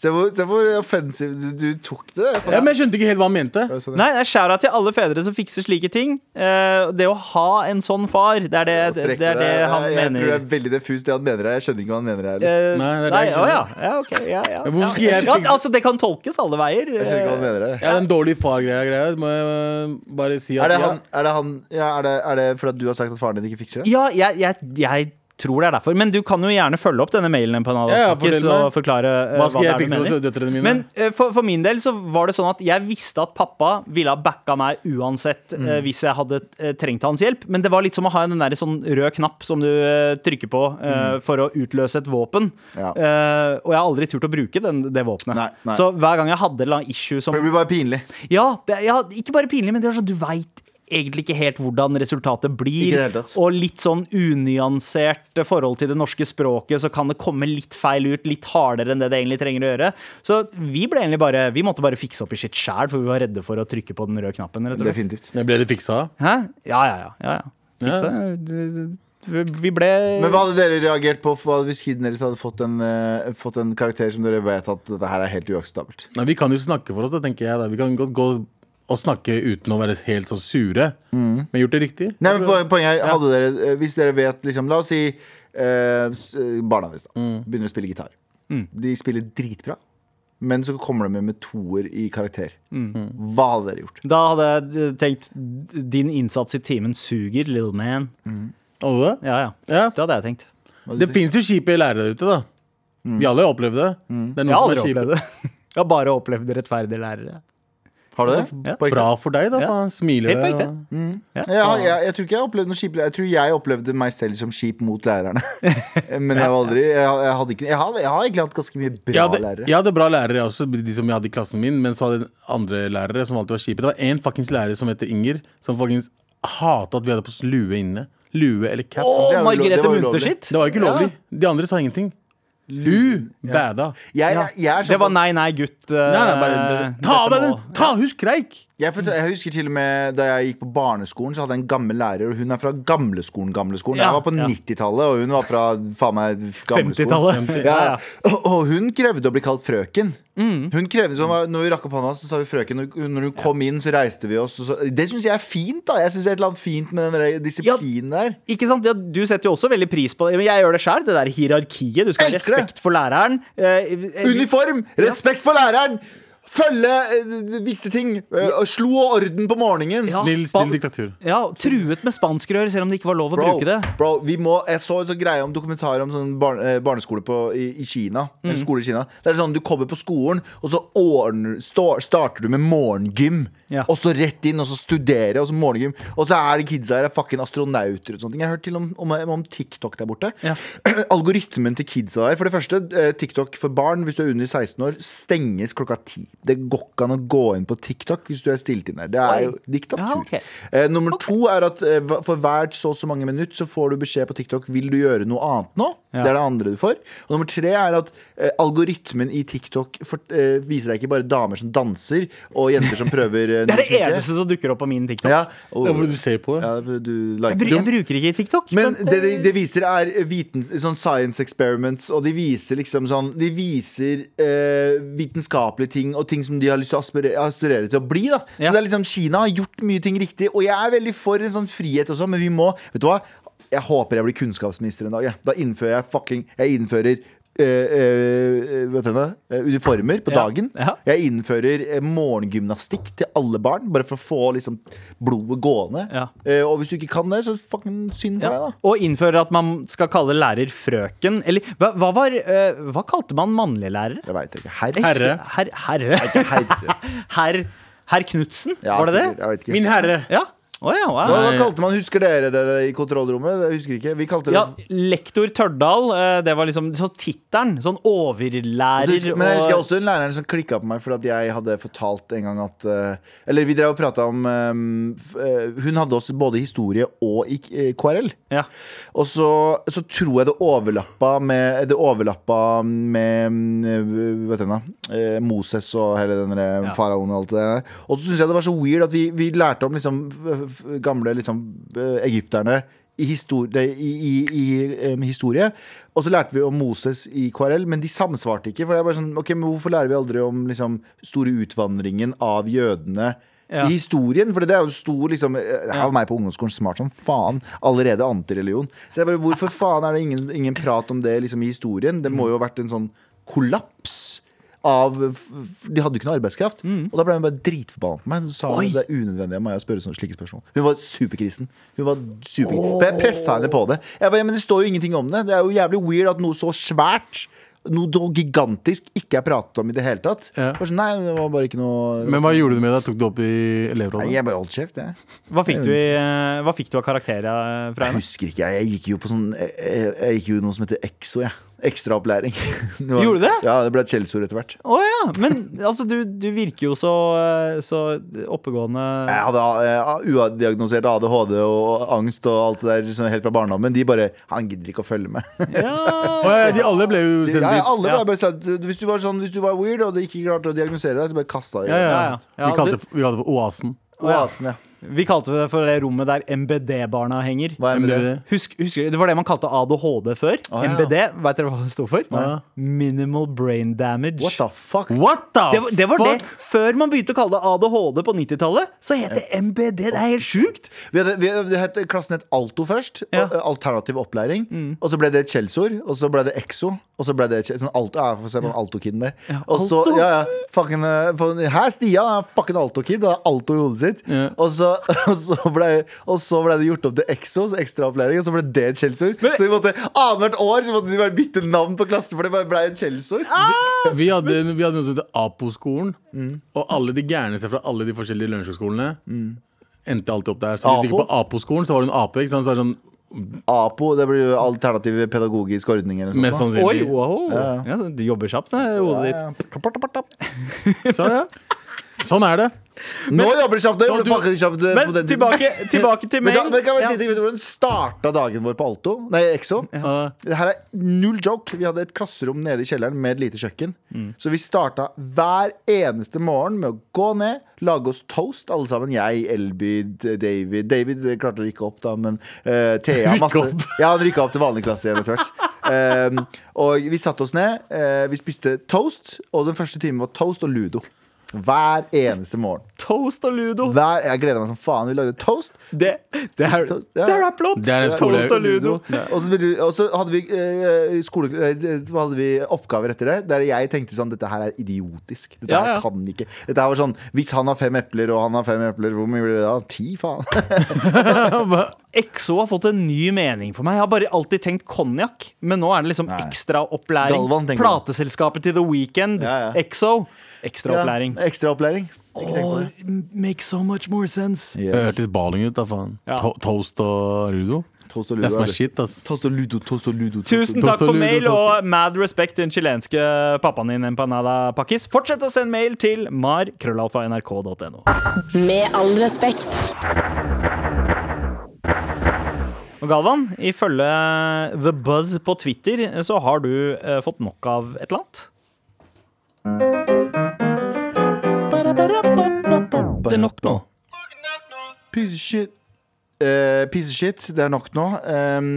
Speaker 2: Se hvor, se hvor offensiv du, du tok det. Sånn,
Speaker 3: Ja, men jeg skjønte ikke helt hva han mente.
Speaker 1: nei, det er skjæra til alle fedre som fikser slike ting. Eh, det å ha en sånn far, det er det, det, er det han
Speaker 2: jeg, jeg
Speaker 1: mener.
Speaker 2: tror det er veldig diffust, det han mener her. Jeg skjønner ikke hva han mener her. Jeg
Speaker 1: Eh,
Speaker 3: Nei, det er det
Speaker 1: nei,
Speaker 3: jeg
Speaker 1: å ja.
Speaker 3: skjønner.
Speaker 1: ja, ok, ja, ja.
Speaker 3: Men hvorfor skal
Speaker 1: Ja, ja,
Speaker 3: jeg fikse-
Speaker 1: Altså, det kan tolkes alle veier.
Speaker 2: skjønner ikke hva han mener her.
Speaker 3: Ja, Den dårlige far-greia greia, må jeg øh, bare si at
Speaker 2: Er det
Speaker 3: ja.
Speaker 2: han, er det, han ja, er, det, er det for at du har sagt at faren din ikke fikser det?
Speaker 1: Ja, jeg, jeg, jeg tror det er derfor. Men du kan jo gjerne følge opp denne mailen på
Speaker 3: Ja, ja,
Speaker 1: Nadaspakis
Speaker 3: fortell meg.
Speaker 1: og forklare eh,
Speaker 3: Hva skal
Speaker 1: det
Speaker 3: jeg
Speaker 1: er du
Speaker 3: fikse hos
Speaker 1: mener.
Speaker 3: døtrene mine?
Speaker 1: Men eh, for, for min del så var det sånn at jeg visste at pappa ville ha backa meg uansett
Speaker 3: Mm.
Speaker 1: eh, hvis jeg hadde eh, trengt hans hjelp. Men det var litt som å ha en den der sånn rød knapp som du eh, trykker på eh,
Speaker 3: Mm.
Speaker 1: for å utløse et våpen.
Speaker 2: Ja.
Speaker 1: Eh, og jeg har aldri turt å bruke den, det våpenet.
Speaker 2: Nei, nei.
Speaker 1: Så hver gang jeg hadde en issue som
Speaker 2: For det blir bare pinlig.
Speaker 1: ja, det, ja, ikke bare pinlig, men det er sånn du veit egentlig ikke helt hvordan resultatet
Speaker 2: Ikke i
Speaker 1: blir.
Speaker 2: det hele tatt.
Speaker 1: Og litt sånn unyansert forhold til det norske språket, så kan det komme litt feil ut, litt hardere enn det det egentlig trenger å gjøre. Så vi ble egentlig bare Vi måtte bare fikse opp i shit sjæl, for vi var redde for å trykke på den røde knappen, rett og slett.
Speaker 2: Definitivt.
Speaker 3: Men Ble det fiksa?
Speaker 1: Hæ? Ja, ja, ja. ja, ja.
Speaker 3: Ja.
Speaker 1: Fiksa. det- det- Vi ble
Speaker 2: Men hva hadde dere reagert på hva hvis kiden deres hadde fått en, eh, fått en karakter som dere vet at det her er helt uakseptabelt?
Speaker 3: Nei, vi kan jo snakke for oss, da, tenker jeg. da Vi kan godt gå og snakke uten å være helt så sure. Men gjort det riktig?
Speaker 2: Mm. Nei, men po- poenget her, hadde dere, eh, hvis dere vet liksom, La oss si eh, s- eh, barna deres da,
Speaker 1: Mm.
Speaker 2: begynner å spille gitar. De spiller dritbra, men så kommer de med med toer i karakter.
Speaker 1: Mm.
Speaker 2: Mm. Hva hadde dere gjort?
Speaker 1: Da hadde jeg tenkt Din innsats i timen suger, little man.
Speaker 3: Og det?
Speaker 1: Ja, ja.
Speaker 3: Ja.
Speaker 1: Det hadde jeg tenkt.
Speaker 3: Det fins jo kjipe lærere der ute, da.
Speaker 2: Mm.
Speaker 3: Vi alle har opplevd det. Det er
Speaker 1: Jeg har
Speaker 3: noen
Speaker 1: aldri
Speaker 3: som er
Speaker 1: opplevd
Speaker 3: kjipe.
Speaker 1: det. Jeg har bare opplevd rettferdige lærere.
Speaker 2: Har du det?
Speaker 1: Ja.
Speaker 2: På ekte?
Speaker 3: Bra for deg, da.
Speaker 1: Ja.
Speaker 3: Faen. Smiler
Speaker 1: Helt på ekte.
Speaker 3: og-
Speaker 2: Ja, jeg, jeg tror ikke jeg opplevde noe kjipt. Jeg tror jeg opplevde meg selv som kjip mot lærerne. Men jeg, var aldri, jeg, jeg, hadde ikke, jeg, har, jeg har egentlig hatt ganske mye bra
Speaker 3: Jeg hadde,
Speaker 2: lærere.
Speaker 3: jeg hadde bra lærere, jeg også. De som jeg hadde i klassen min. Men så hadde jeg andre lærere som alltid var kjipe. Det var én fuckings lærer som heter Inger, som fuckings hata at vi hadde på oss lue inne. Lue eller caps.
Speaker 1: Å,
Speaker 2: Det er jo lov- det
Speaker 1: Margrethe
Speaker 2: var jo
Speaker 1: Munther
Speaker 2: lovlig.
Speaker 1: sitt!
Speaker 3: Det var jo ikke lovlig. De andre sa ingenting. Lu bæda.
Speaker 2: Jeg, jeg, jeg, er
Speaker 1: Det var
Speaker 2: såpass-
Speaker 1: nei, nei, gutt. eh,
Speaker 3: Nei, nei, bare, det- ta av
Speaker 1: dette
Speaker 3: deg den!
Speaker 1: må-
Speaker 3: Ta, husk kreik!
Speaker 2: jeg, fortell- jeg husker til og med Da jeg gikk på barneskolen, Så hadde jeg en gammel lærer. Og hun er fra gamleskolen. gamleskolen
Speaker 1: Ja,
Speaker 2: Jeg var på
Speaker 1: ja.
Speaker 2: 90-tallet, og hun var fra faen meg gamleskolen.
Speaker 1: 50-tallet.
Speaker 2: Ja, ja. Og- Og hun krevde å bli kalt frøken.
Speaker 1: Mm.
Speaker 2: Hun krevde, så hun var, når vi rakk opp hånda, så sa vi frøken. Og når hun kom inn, så reiste vi oss. Og så, det syns jeg er fint. da Jeg synes det er et eller annet fint med den der disiplinen der.
Speaker 1: Ikke sant? Ja, du setter jo også veldig pris på det. Men Jeg gjør det sjøl, det der hierarkiet. Du skal ha
Speaker 2: Elsker det.
Speaker 1: respekt for læreren. Eh, eh,
Speaker 2: Uniform! Respekt for læreren! følge eh, visse ting. Eh, og Slo orden på morgenen.
Speaker 1: Ja,
Speaker 3: Snill,
Speaker 1: span-
Speaker 3: snill diktatur.
Speaker 1: Ja, Truet med spanskrør, selv om det ikke var lov å
Speaker 2: Bro,
Speaker 1: bruke det.
Speaker 2: bro, vi må, jeg så en sånn greie om dokumentar om sånn barn, eh, barneskole på, i, i Kina. En
Speaker 1: Mm.
Speaker 2: skole i Kina Det er sånn, Du kommer på skolen, og så ordner, sta- starter du med morgengym.
Speaker 1: Ja.
Speaker 2: Og så rett inn, og så studere, og så morgengym. Og så er det kidsa her er fucking astronauter og sånne ting. Jeg har hørt til om, om, om TikTok der borte.
Speaker 1: Ja.
Speaker 2: Algoritmen til kidsa der. For det første, eh, TikTok for barn hvis du er under 16 år, stenges klokka ti. Det går ikke an å gå inn på TikTok hvis du er stilt inn der. Det er jo diktatur.
Speaker 1: Ja, ok.
Speaker 2: Eh, nummer to er at eh, hva- for hvert så og så mange minutt så får du beskjed på TikTok Vil du gjøre noe annet nå.
Speaker 1: Ja.
Speaker 2: Det er det andre du får. Og nummer tre er at eh, algoritmen i TikTok fort- eh, viser deg ikke bare damer som danser, og jenter som prøver eh,
Speaker 1: Det er det
Speaker 2: noe som ikke-
Speaker 1: eneste som dukker opp på min TikTok.
Speaker 2: Ja, og,
Speaker 3: Det er fordi du ser på det.
Speaker 2: ja, fordi du
Speaker 1: Jeg,
Speaker 2: liker
Speaker 1: bru- jeg bruker ikke TikTok.
Speaker 2: men det de, de viser er viten, sånn science experiments, og de viser liksom sånn De viser eh, vitenskapelige ting og ting som de har lyst til å aspirere, aspirere til å bli. da Så
Speaker 1: Ja.
Speaker 2: det er liksom Kina har gjort mye ting riktig, og jeg er veldig for en sånn frihet også, men vi må Vet du hva? Jeg håper jeg blir kunnskapsminister en dag. Jeg. Da innfører jeg fucking Jeg innfører eh, eh, vet du, hva? Eh, uniformer på
Speaker 1: Ja.
Speaker 2: dagen.
Speaker 1: Ja.
Speaker 2: Jeg innfører eh, morgengymnastikk til alle barn, bare for å få liksom, blodet gående.
Speaker 1: Ja.
Speaker 2: Eh, og hvis du ikke kan det, så fucking synd for
Speaker 1: Ja.
Speaker 2: deg, da.
Speaker 1: Og innfører at man skal kalle lærer frøken. Eller hva, hva var eh, Hva kalte man mannlige lærere?
Speaker 2: Jeg veit ikke. Herr?
Speaker 3: Herre.
Speaker 1: Herr Herre.
Speaker 2: Herre.
Speaker 1: Herr, herr Knutsen,
Speaker 2: Ja,
Speaker 1: var det det?
Speaker 2: sikkert. Jeg vet ikke.
Speaker 3: Min herre.
Speaker 1: Ja. Å ja, wow.
Speaker 2: hva, hva kalte man Husker dere det i kontrollrommet? Jeg husker ikke. Vi kalte det
Speaker 1: ja. Lektor Tørdal, eh, det var liksom så tittelen. Sånn
Speaker 2: Så
Speaker 1: overlærer
Speaker 2: husker- Men jeg husker
Speaker 1: og
Speaker 2: også en lærer som klikka på meg for at jeg hadde fortalt en gang at eh, Eller vi drev og prata om eh, f- eh, Hun hadde oss både i historie og i eh, KRL.
Speaker 1: ja.
Speaker 2: Og så, så tror jeg det overlappa med, det overlappa med mm, vet du hva, eh, Moses og hele den der faraoen og alt det der. Og så syns jeg det var så weird at vi, vi lærte om liksom, f- f- gamle liksom, eh, egypterne i, histori nei, i, i, i em, historie. Og så lærte vi om Moses i KRL, men de samsvarte ikke. For det er bare sånn, ok, men Hvorfor lærer vi aldri om liksom, store utvandringen av jødene?
Speaker 1: Ja.
Speaker 2: I historien, for det er jo stor liksom, Her var meg på ungdomsskolen smart som faen. Allerede antireligion. Så jeg bare, Hvorfor faen er det ingen, ingen prat om det liksom, i historien? Det må jo ha vært en sånn kollaps. Av, de hadde jo ikke noe arbeidskraft.
Speaker 3: Mm.
Speaker 2: Og da ble hun bare dritforbanna på meg. Så sa hun at det er unødvendig av meg å spørre sånne slike spørsmål. Hun var superkristen. Hun var super For Jeg pressa henne på det. Jeg bare, ja, men Det står jo ingenting om det. Det er jo jævlig weird at noe så svært, noe så gigantisk, ikke er pratet om i det hele tatt.
Speaker 3: Ja.
Speaker 2: Bare sånn, nei, det var bare ikke noe
Speaker 3: Men hva gjorde du med det? Tok du opp i elevrådet?
Speaker 2: Nei, jeg bare holdt kjeft, jeg.
Speaker 1: Hva fikk du, i, eh, hva fikk du av karakterer fra
Speaker 2: Jeg
Speaker 1: henne?
Speaker 2: husker ikke, jeg. Jeg gikk jo på sånn Jeg, jeg- jeg gikk jo i noe som heter EXO, jeg. Ekstraopplæring.
Speaker 1: Gjorde du det?
Speaker 2: Ja, det ble et skjellsord etter hvert.
Speaker 1: Å ja, men altså, du, du virker jo så, eh, så oppegående.
Speaker 2: Jeg hadde eh, udiagnosert ADHD og angst og alt det der sånn helt fra barndommen. De bare 'Han gidder ikke å følge med'.
Speaker 1: Ja,
Speaker 3: Å, ja, de alle ble jo
Speaker 2: De,
Speaker 3: sendt
Speaker 2: ja,
Speaker 3: dit.
Speaker 2: alle
Speaker 1: Ja.
Speaker 2: ble bare sagt, hvis, du var sånn, hvis du var weird og de ikke klarte å diagnosere deg, så bare kasta de
Speaker 3: Ja, ja.
Speaker 1: Ja, ja.
Speaker 3: Vi
Speaker 1: Ja,
Speaker 3: kalte
Speaker 1: du-
Speaker 3: det for- vi kalte det for Oasen.
Speaker 2: Oasen, ja.
Speaker 1: Vi kalte det for det rommet der MBD-barna henger.
Speaker 2: Hva er
Speaker 3: Men
Speaker 2: med
Speaker 3: det-
Speaker 2: det?
Speaker 1: Husk, husker dere, Det var det man kalte ADHD før.
Speaker 2: Å, ja.
Speaker 1: MBD, vet dere hva det sto for? Minimal brain damage.
Speaker 2: What the fuck?
Speaker 3: What the
Speaker 1: det var, det var det.
Speaker 3: fuck?
Speaker 1: Før man begynte å kalle det ADHD på 90-tallet, så het det MBD. Det er helt sjukt!
Speaker 2: Vi hadde, vi hadde, det het- klassen het Alto først.
Speaker 1: Ja. Mm.
Speaker 2: og- eh, Alternativ opplæring. Og så ble det et skjellsord, og så ble det Exo. Og så ble det et skjell- sånn Alto, ja, få se på den Alto-kiden der. Og så,
Speaker 1: Alto.
Speaker 2: ja, ja, fucking, eh, for- Hæ, Stian er fucking Alto-kid. Han har Alto i hodet sitt. Og, så, og, så ble, og så ble det gjort om til Exo, så ekstraopplæring, og så ble det et skjellsord.
Speaker 1: Men-
Speaker 2: Så vi måtte annethvert år så måtte de bare bytte navn på klassen, for det bare ble et skjellsord.
Speaker 1: Ah!
Speaker 3: Vi hadde, vi hadde noe som het Apo-skolen.
Speaker 2: Mm.
Speaker 3: Og alle de gærneste fra alle de forskjellige lunsjskolene endte alltid opp der. Så hvis
Speaker 2: Apo?
Speaker 3: du gikk på Apo-skolen, så var du en ape. Ikke sant? Så er det sånn,
Speaker 2: Apo, det blir jo alternativ pedagogisk ordning eller noe
Speaker 3: mest
Speaker 2: sånt. da.
Speaker 1: Oi,
Speaker 3: sannsynlig.
Speaker 1: wow. ja, du jobber kjapt, det hodet ditt.
Speaker 2: Ja, ja.
Speaker 3: Så, ja. Sånn er det.
Speaker 2: Nå jobber du kjapt! Nå jobber du
Speaker 3: Så
Speaker 2: fucking kjapt eh, på
Speaker 1: Men
Speaker 2: den tiden.
Speaker 1: tilbake, tilbake til
Speaker 2: Men,
Speaker 1: mail.
Speaker 2: da, men kan jeg bare si
Speaker 1: Ja.
Speaker 2: ting, Vet du hvordan starta dagen vår på Alto? Nei, Exo?
Speaker 3: Ja.
Speaker 2: Det her er null joke. Vi hadde et klasserom nede i kjelleren med et lite kjøkken. Så vi starta hver eneste morgen med å gå ned, lage oss toast, alle sammen. Jeg, Elby, D- David David eh, klarte å rykke opp, da, men eh, Thea
Speaker 3: Rykke
Speaker 2: masse.
Speaker 3: opp?
Speaker 2: Ja, han rykka opp til vanlig klasse igjen etter hvert. Ehm, Eh, og vi satte oss ned, eh, vi spiste toast, og den første timen var toast og ludo. Hver eneste morgen.
Speaker 1: Toast og Ludo.
Speaker 2: Hver, jeg gleder meg som faen. Vi lagde toast.
Speaker 1: Det, det er
Speaker 2: Toast, ja.
Speaker 1: det er rap-låt.
Speaker 3: Det er en skole-
Speaker 1: Toast og Ludo.
Speaker 2: Og så spilte- og så hadde vi, eh, skole, eh, så hadde vi oppgaver etter det, der jeg tenkte sånn Dette her er idiotisk. Dette
Speaker 1: Ja, ja.
Speaker 2: her kan ikke. Dette her var sånn Hvis han har fem epler, og han har fem epler, hvor mye blir det da? Ti, faen.
Speaker 1: XO har fått en ny mening for meg. Jeg har bare alltid tenkt konjakk, men nå er det liksom
Speaker 2: Nei.
Speaker 1: ekstra opplæring.
Speaker 2: Galvan, tenker du?
Speaker 1: Plateselskapet til The Weekend,
Speaker 2: Ja, ja.
Speaker 1: XO. Ekstra opplæring.
Speaker 2: Ja, ekstra opplæring.
Speaker 1: Makes so much more sense.
Speaker 2: Yes.
Speaker 3: Det hørtes baling ut, da faen.
Speaker 1: Ja.
Speaker 3: To toast og Rudo.
Speaker 2: Toast og
Speaker 3: Det er som
Speaker 2: er
Speaker 3: er shit, ass.
Speaker 2: Toast og ludo, toast og ludo. toast og
Speaker 1: Tusen
Speaker 2: ludo.
Speaker 1: takk for
Speaker 3: Toast og
Speaker 1: mail
Speaker 3: ludo, toast
Speaker 1: og mad respect til den chilenske pappaen din, Empanada Pakkis. Fortsett å sende mail til mar.krøllalfa.nrk.no.
Speaker 4: Med all respekt.
Speaker 1: Og Galvan, ifølge The Buzz på Twitter så har du eh, fått nok av et eller annet.
Speaker 2: Det
Speaker 1: er nok nå.
Speaker 2: Piece of shit. Eh, piece of shit, det er nok nå. Um,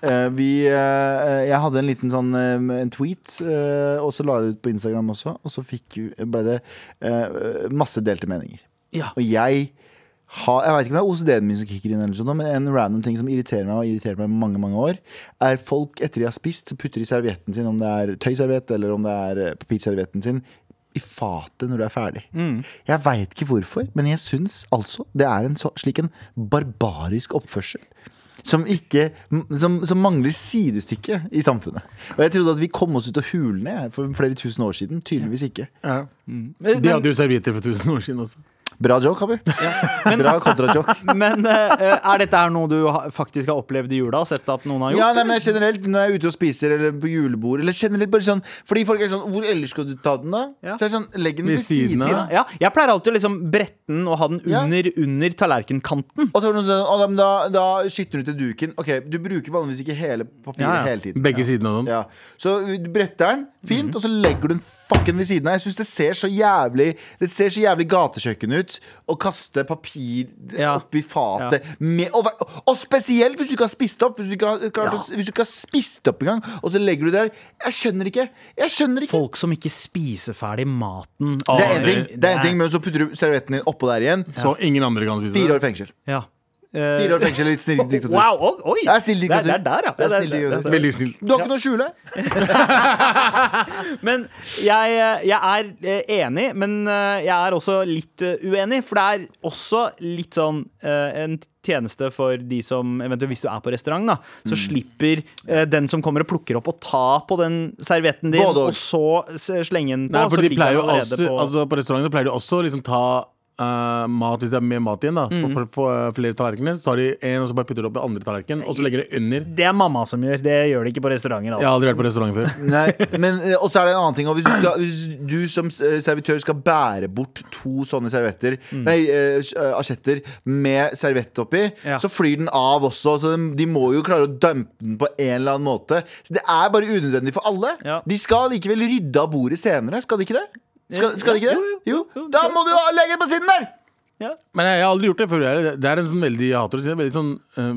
Speaker 2: eh, vi, eh, jeg hadde en liten sånn eh, en tweet, eh, og så la jeg det ut på Instagram også. Og så fikk, ble det eh, masse delte meninger.
Speaker 1: Ja.
Speaker 2: Og jeg har, jeg vet ikke om det er OCD-en min som kicker inn, eller sånn, men en random ting som irriterer meg og har irritert meg i mange mange år, er folk etter de har spist, så putter de servietten sin, om det er tøyserviett eller om det er eh, papirservietten sin, i fatet når du er ferdig. Jeg veit ikke hvorfor, men jeg syns altså det er en så, slik en barbarisk oppførsel. Som, ikke, som, som mangler sidestykke i samfunnet. Og jeg trodde at vi kom oss ut av hulene jeg, for flere tusen år siden. Tydeligvis ikke.
Speaker 3: Ja. De hadde jo servietter for tusen år siden også.
Speaker 2: Bra joke, Abu. Bra kontrajoke.
Speaker 1: Men eh, er dette her noe du ha- faktisk har opplevd i jula? Sett at noen har gjort? liksom.
Speaker 2: Ja, nei, men generelt når jeg er ute og spiser eller på julebord Eller generelt bare sånn Fordi folk er sånn Hvor ellers skal du ta den, da?
Speaker 1: Ja.
Speaker 2: Så er det sånn Legg den
Speaker 3: Ved
Speaker 2: ved siden
Speaker 3: siden
Speaker 2: av.
Speaker 3: av.
Speaker 1: Ja, jeg pleier alltid å liksom brette den og ha den
Speaker 2: Ja.
Speaker 1: under, under tallerkenkanten.
Speaker 2: Og så er det noen som sier sånn Å, da, men da, da skytter du til duken. Ok, du bruker vanligvis ikke hele papiret
Speaker 1: Ja, ja.
Speaker 2: hele tiden.
Speaker 3: Begge sidene av dem.
Speaker 2: Mm. Ja. Så du bretter den, fint,
Speaker 1: Mhm.
Speaker 2: og så legger du den fucken ved siden av. Jeg syns det ser så jævlig Det ser så jævlig gatekjøkken ut å kaste papir
Speaker 1: Ja.
Speaker 2: oppi fatet. Med, og, hva- og spesielt hvis du ikke har spist opp. Hvis du ikke har, klart å- hvis du ikke har spist opp engang, og så legger du det der. Jeg skjønner ikke. Jeg skjønner ikke.
Speaker 1: Folk som ikke spiser ferdig maten.
Speaker 2: Det er én ting, det er en ting, men så putter du servietten din oppå der igjen.
Speaker 3: Så ingen andre kan spise
Speaker 2: Fire
Speaker 3: det.
Speaker 2: år fengsel.
Speaker 1: Ja. Eh,
Speaker 2: Fire år fengsel i et snilt diktatur.
Speaker 1: Wow, og- oi!
Speaker 2: Det er snill diktatur.
Speaker 1: Det er der, ja.
Speaker 2: Det
Speaker 1: Det
Speaker 2: er
Speaker 1: er
Speaker 2: snill
Speaker 1: der,
Speaker 2: diktatur.
Speaker 1: det er der.
Speaker 3: Veldig snill.
Speaker 2: Du har ikke noe å skjule?
Speaker 1: Men jeg, jeg er eh, enig, men eh, jeg er også litt eh, uenig. For det er også litt sånn eh, en tjeneste for de som eventuelt Hvis du er på restaurant, da, så
Speaker 2: Mm.
Speaker 1: slipper eh, den som kommer og plukker opp, å ta på den servietten din,
Speaker 2: Både og.
Speaker 1: og så s- slenge den på.
Speaker 3: Nei, for
Speaker 1: så
Speaker 3: de
Speaker 1: ligger
Speaker 3: pleier jo
Speaker 1: den allerede
Speaker 3: også, altså på restauranter pleier de også å liksom ta eh, mat hvis det er mer mat igjen. da Og For å få eh, flere tallerkener, så tar de en og så bare putter de opp den andre tallerkenen, og så legger de under.
Speaker 1: Det er mamma som gjør, det gjør de ikke på restauranter.
Speaker 3: Jeg har
Speaker 1: Altså.
Speaker 3: aldri vært på restaurant før.
Speaker 2: Nei, men eh, Og så er det en annen ting. Og hvis, du skal, hvis du som eh, servitør skal bære bort to sånne servietter
Speaker 1: Mm.
Speaker 2: Nei, eh, s- eh, asjetter med servett oppi,
Speaker 1: Ja.
Speaker 2: så flyr den av også. Så de, de må jo klare å dempe den på en eller annen måte. Så det er bare unødvendig for alle.
Speaker 1: Ja.
Speaker 2: De skal likevel rydde av bordet senere, skal de ikke det? Skal, skal de ikke det? Jo, Da må du ha- legge den på siden der!
Speaker 3: Men jeg, jeg har aldri gjort det før. Det er- Det er en sånn veldig, jeg hater å si det, veldig sånn eh,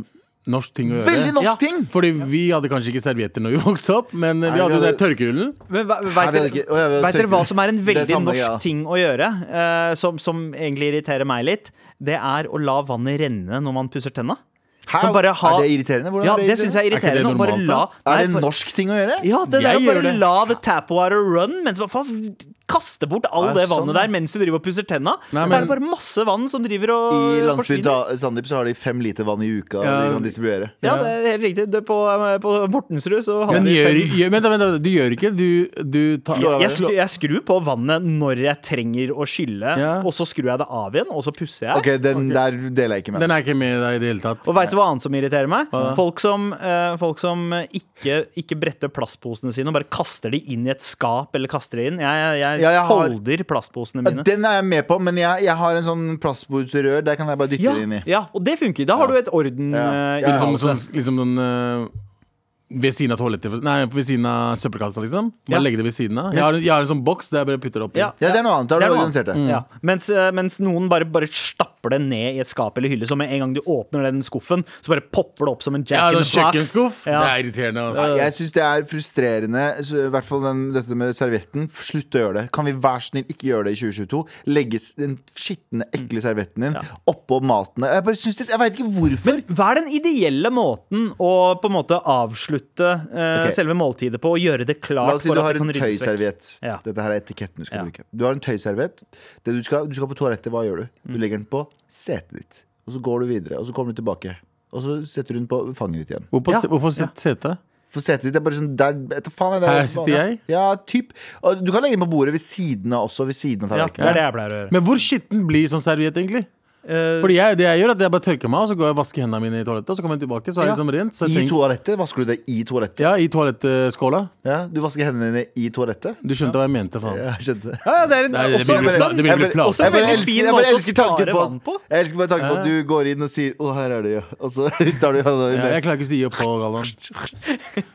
Speaker 3: norsk ting å gjøre.
Speaker 2: Veldig norsk
Speaker 1: Ja.
Speaker 2: ting!
Speaker 3: Fordi vi hadde kanskje ikke servietter når vi vokste opp, men eh,
Speaker 2: Nei,
Speaker 3: vi
Speaker 2: vi
Speaker 3: hadde den der
Speaker 2: hadde-
Speaker 3: tørkerullen.
Speaker 1: Men hva-
Speaker 2: Nei,
Speaker 1: Vet
Speaker 2: vi hadde
Speaker 1: dere-
Speaker 2: ikke- Å, ja, vi hadde
Speaker 1: vet dere
Speaker 2: tørker-
Speaker 1: hva som er en
Speaker 2: Det
Speaker 1: veldig
Speaker 2: samme,
Speaker 1: norsk
Speaker 2: ja.
Speaker 1: ting å gjøre, eh, som, som egentlig irriterer meg litt? Det er å la vannet renne når man pusser tenna.
Speaker 2: Hæ?
Speaker 1: Som bare ha-
Speaker 2: Er det irriterende? Hvordan
Speaker 1: Ja,
Speaker 2: er det
Speaker 1: det syns jeg er
Speaker 3: Er ikke det
Speaker 1: irriterende. å bare
Speaker 3: normalt,
Speaker 1: la,
Speaker 3: da?
Speaker 2: irriterende? Er det
Speaker 1: bare-
Speaker 2: en norsk ting å gjøre?
Speaker 1: Ja, det der
Speaker 3: Jeg
Speaker 1: å bare
Speaker 3: gjør det.
Speaker 1: la the tap water run, mens man faen, kaster bort all
Speaker 2: Ja,
Speaker 1: det
Speaker 2: sånn,
Speaker 1: vannet
Speaker 2: ja.
Speaker 1: der mens du driver og pusser tenna.
Speaker 3: Nei,
Speaker 1: så er
Speaker 3: men-
Speaker 1: det bare masse vann som driver
Speaker 2: I
Speaker 1: og
Speaker 2: landsbyen
Speaker 1: eh, forsvinner.
Speaker 2: Da- Sandeep så har de fem liter vann i uka
Speaker 3: Ja.
Speaker 2: de kan distribuere.
Speaker 1: Ja, det er helt riktig. Det, på, på Mortensrud så hadde
Speaker 3: Men
Speaker 1: vi
Speaker 3: gjør,
Speaker 1: fem-
Speaker 3: gjør, vent, da, vent, da, du gjør ikke Du, du tar
Speaker 1: jeg, skru, jeg skrur på vannet når jeg trenger å skylle,
Speaker 3: Ja.
Speaker 1: og så skrur jeg det av igjen, og så pusser jeg.
Speaker 2: Ok, den der deler jeg ikke med.
Speaker 3: Den er ikke med deg i det hele tatt.
Speaker 1: Og veit du hva annet som irriterer meg? Folk som, eh, folk som ikke, ikke bretter plastposene sine og bare kaster de inn i et skap eller kaster de inn. Jeg, jeg,
Speaker 2: Ja, jeg har-
Speaker 1: holder plastposene
Speaker 2: Ja,
Speaker 1: mine.
Speaker 2: Den er jeg med på, men jeg, jeg har en sånn plastbordsrør. Der kan jeg bare dytte
Speaker 1: Ja,
Speaker 2: det inn i.
Speaker 1: ja, og det funker. Da har du et orden.
Speaker 2: Ja.
Speaker 1: eh,
Speaker 2: Ja, ja.
Speaker 3: Sånn,
Speaker 1: uttalelse.
Speaker 3: sånn, liksom den eh, Ved siden av toalettet Nei, ved siden av søppelkassa, liksom. Bare
Speaker 1: Ja.
Speaker 3: legge det ved siden av. Jeg har, jeg har en sånn boks der jeg bare putter det opp. i.
Speaker 1: Ja.
Speaker 2: Ja, det er noe annet. Mm. Da
Speaker 1: Det er
Speaker 2: har du
Speaker 1: noe
Speaker 2: organisert det.
Speaker 1: annet. Ja. Mens, eh, mens noen bare, bare stapper stapper det ned i et skap eller hylle. Så med en gang du åpner den skuffen, så bare popper det opp som en
Speaker 3: Ja,
Speaker 1: jack
Speaker 3: det
Speaker 1: in
Speaker 3: er
Speaker 1: the box.
Speaker 3: kjøkkenskuff.
Speaker 1: Ja.
Speaker 3: Det er irriterende. ass.
Speaker 2: Jeg syns det er frustrerende, så i hvert fall den, dette med servietten. Slutt å gjøre det. Kan vi vær så snill ikke gjøre det i 2022? Legge s- den skitne, ekle servietten din oppå maten. Jeg bare synes det, jeg veit ikke hvorfor.
Speaker 1: Men hva er den ideelle måten å på en måte avslutte eh,
Speaker 2: Ok.
Speaker 1: selve måltidet på? Og gjøre det
Speaker 2: La
Speaker 1: klart
Speaker 2: oss si
Speaker 1: for
Speaker 2: du
Speaker 1: at
Speaker 2: har
Speaker 1: det
Speaker 2: en
Speaker 1: kan ryddes vekk?
Speaker 2: tøyserviett.
Speaker 1: Ja.
Speaker 2: Dette her er etiketten du skal
Speaker 1: Ja.
Speaker 2: bruke. Du har en tøyserviett. Det Du, skal- du skal på toalettet, hva gjør du?
Speaker 1: Mm.
Speaker 2: Du legger den på setet ditt. Og så går du videre, og så kommer du tilbake. Og så setter du den på fanget ditt igjen.
Speaker 3: Hvorfor,
Speaker 1: Ja.
Speaker 3: se- hvorfor sitt sete?
Speaker 2: For setet ditt er bare sånn der, vet du faen, jeg,
Speaker 3: Her sitter jeg.
Speaker 2: Ja, typ. Og du kan legge den på bordet ved siden av også. Ved siden av
Speaker 1: Ja, det
Speaker 2: tallerkenen.
Speaker 1: er det jeg pleier å gjøre. Eh,
Speaker 3: Men hvor skitten blir sånn serviett, egentlig? Fordi jeg, det jeg gjør, er at jeg bare tørker meg, og så går jeg og vasker hendene mine i toalettet. Og så kommer jeg tilbake, så er jeg
Speaker 1: Ja.
Speaker 3: liksom rent. Så jeg
Speaker 2: I
Speaker 3: trenger-
Speaker 2: toalettet? Vasker du det i toalettet?
Speaker 3: ja, I toalettskåla.
Speaker 2: Ja, Du vasker hendene dine i toalettet?
Speaker 3: Du skjønte hva jeg mente, faen.
Speaker 2: Ja, jeg skjønte det.
Speaker 1: Ja, ja, det er en,
Speaker 3: Nei, det
Speaker 1: også,
Speaker 3: blir
Speaker 1: også,
Speaker 3: plan- det blir
Speaker 2: jeg bare-
Speaker 3: plan-
Speaker 1: også en
Speaker 2: jeg bare
Speaker 1: veldig
Speaker 2: elsker-
Speaker 1: fin
Speaker 2: jeg bare
Speaker 1: måte å
Speaker 2: elsker tanken
Speaker 1: spare
Speaker 2: på at-
Speaker 1: vann på.
Speaker 2: Jeg elsker bare tanken på at du går inn og sier 'Å, her er det', ja. Og så tar du hånda
Speaker 3: Ja, jeg
Speaker 2: di ned.
Speaker 3: klarer ikke å si opp på Galvan.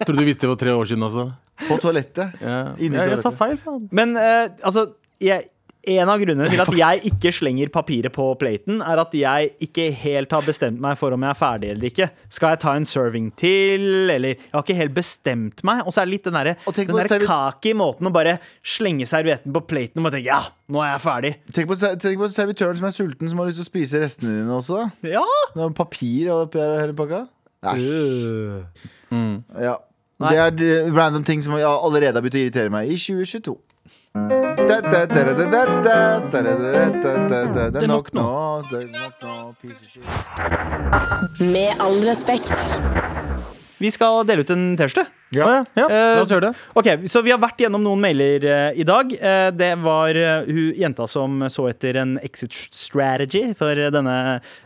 Speaker 3: Tror du visste det for tre år siden også?
Speaker 2: På toalettet.
Speaker 3: Ja.
Speaker 2: Inni
Speaker 3: Ja, jeg sa
Speaker 2: toalettet.
Speaker 3: feil, faen.
Speaker 1: Men eh, altså jeg, En av grunnene til at jeg ikke slenger papiret på platen, er at jeg ikke helt har bestemt meg for om jeg er ferdig eller ikke. Skal jeg ta en serving til, eller Jeg har ikke helt bestemt meg. Og så er det litt den derre
Speaker 2: Og tenk
Speaker 1: den
Speaker 2: på
Speaker 1: der
Speaker 2: serviett-
Speaker 1: kaki måten å bare slenge servietten på platen og bare tenke ja, nå er jeg ferdig.
Speaker 2: Tenk på, ser- tenk på servitøren som er sulten, som har lyst til å spise restene dine også.
Speaker 1: Ja!
Speaker 2: Det er papir og oppi her og hele pakka. Æsj. Ja.
Speaker 1: Nei.
Speaker 2: Det er de- random ting som jeg allerede har begynt å irritere meg i 2022. Da, da, da, da, da, da, da, da, da, da, da, da. Det er nok nå. Det er nok nå. Piece of shit.
Speaker 4: Med all respekt.
Speaker 1: Vi skal dele ut en T-skjorte.
Speaker 3: Ja, ja, ja.
Speaker 1: Eh,
Speaker 3: La oss gjøre det.
Speaker 1: Ok, Så vi har vært gjennom noen mailer eh, i dag. Eh, det var eh, hun jenta som så etter en exit strategy for eh, denne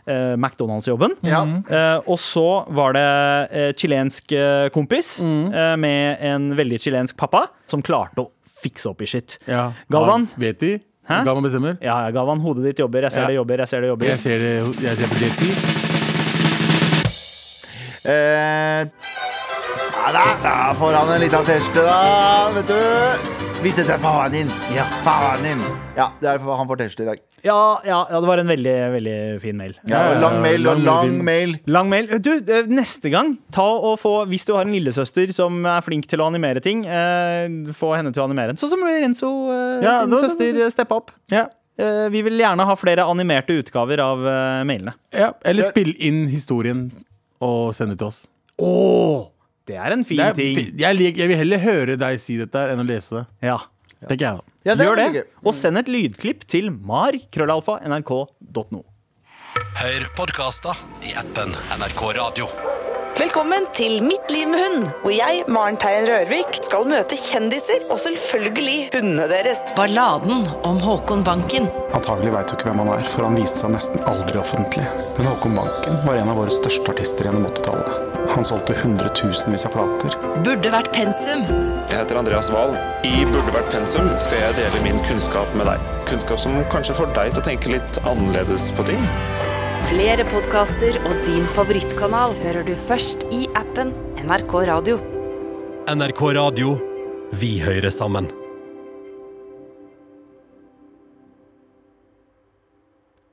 Speaker 1: eh, McDonald's-jobben.
Speaker 2: Ja.
Speaker 1: Eh, og så var det eh, chilensk eh, kompis eh, med en veldig chilensk pappa som klarte å fikse opp i shit.
Speaker 3: Ja.
Speaker 1: Galvan?
Speaker 3: Hva Vet vi?
Speaker 1: Hæ?
Speaker 3: Galvan bestemmer.
Speaker 1: Ja, ja, Galvan, hodet ditt jobber. Jeg ser
Speaker 3: Ja.
Speaker 1: det jobber, jeg ser det jobber.
Speaker 3: Jeg ser det jeg ser på JT.
Speaker 2: Eh, ja da, da får han en liten teste, da, vet du. Hvis dette er faren din. Ja, faren din. Ja, det er derfor han får teste i dag.
Speaker 1: Ja, ja, ja, det var en veldig, veldig fin mail.
Speaker 2: Ja,
Speaker 3: Ja, ja,
Speaker 2: lang
Speaker 3: ja,
Speaker 2: mail og
Speaker 3: lang
Speaker 2: lang
Speaker 3: mail.
Speaker 2: mail.
Speaker 1: Lang mail. Du, eh, neste gang, ta og få, hvis du har en lillesøster som er flink til å animere ting, eh, få henne til å animere den. Sånn som Renzo eh,
Speaker 3: Ja,
Speaker 1: sin
Speaker 3: det- det-
Speaker 1: søster eh, steppa opp.
Speaker 3: Ja.
Speaker 1: Eh, vi vil gjerne ha flere animerte utgaver av eh, mailene.
Speaker 3: ja. Eller spill inn historien og send det til oss.
Speaker 1: Det er en fin
Speaker 3: Det er,
Speaker 1: ting.
Speaker 3: fi- jeg, lik, jeg vil heller høre deg si dette her enn å lese det.
Speaker 1: Ja.
Speaker 3: Tenker jeg da
Speaker 2: Ja, det er
Speaker 1: Gjør
Speaker 2: veldig
Speaker 1: det,
Speaker 2: gøy.
Speaker 1: og send et lydklipp til mar.krøllalfa.nrk.no.
Speaker 6: Hør podkasta i appen NRK Radio.
Speaker 7: Velkommen til Mitt liv med hund, hvor jeg, Maren Teien Rørvik, skal møte kjendiser og selvfølgelig hundene deres.
Speaker 8: Balladen om Håkon Banken.
Speaker 9: Antagelig veit du ikke hvem han er, for han viste seg nesten aldri offentlig. Men Håkon Banken var en av våre største artister gjennom 80-tallet. Han solgte hundretusenvis av plater.
Speaker 8: Burde vært pensum.
Speaker 10: Jeg heter Andreas Wahl. I Burde vært pensum skal jeg dele min kunnskap med deg. Kunnskap som kanskje får deg til å tenke litt annerledes på ting.
Speaker 8: Flere podkaster og din favorittkanal hører du først i appen NRK Radio.
Speaker 6: NRK Radio. Vi hører sammen.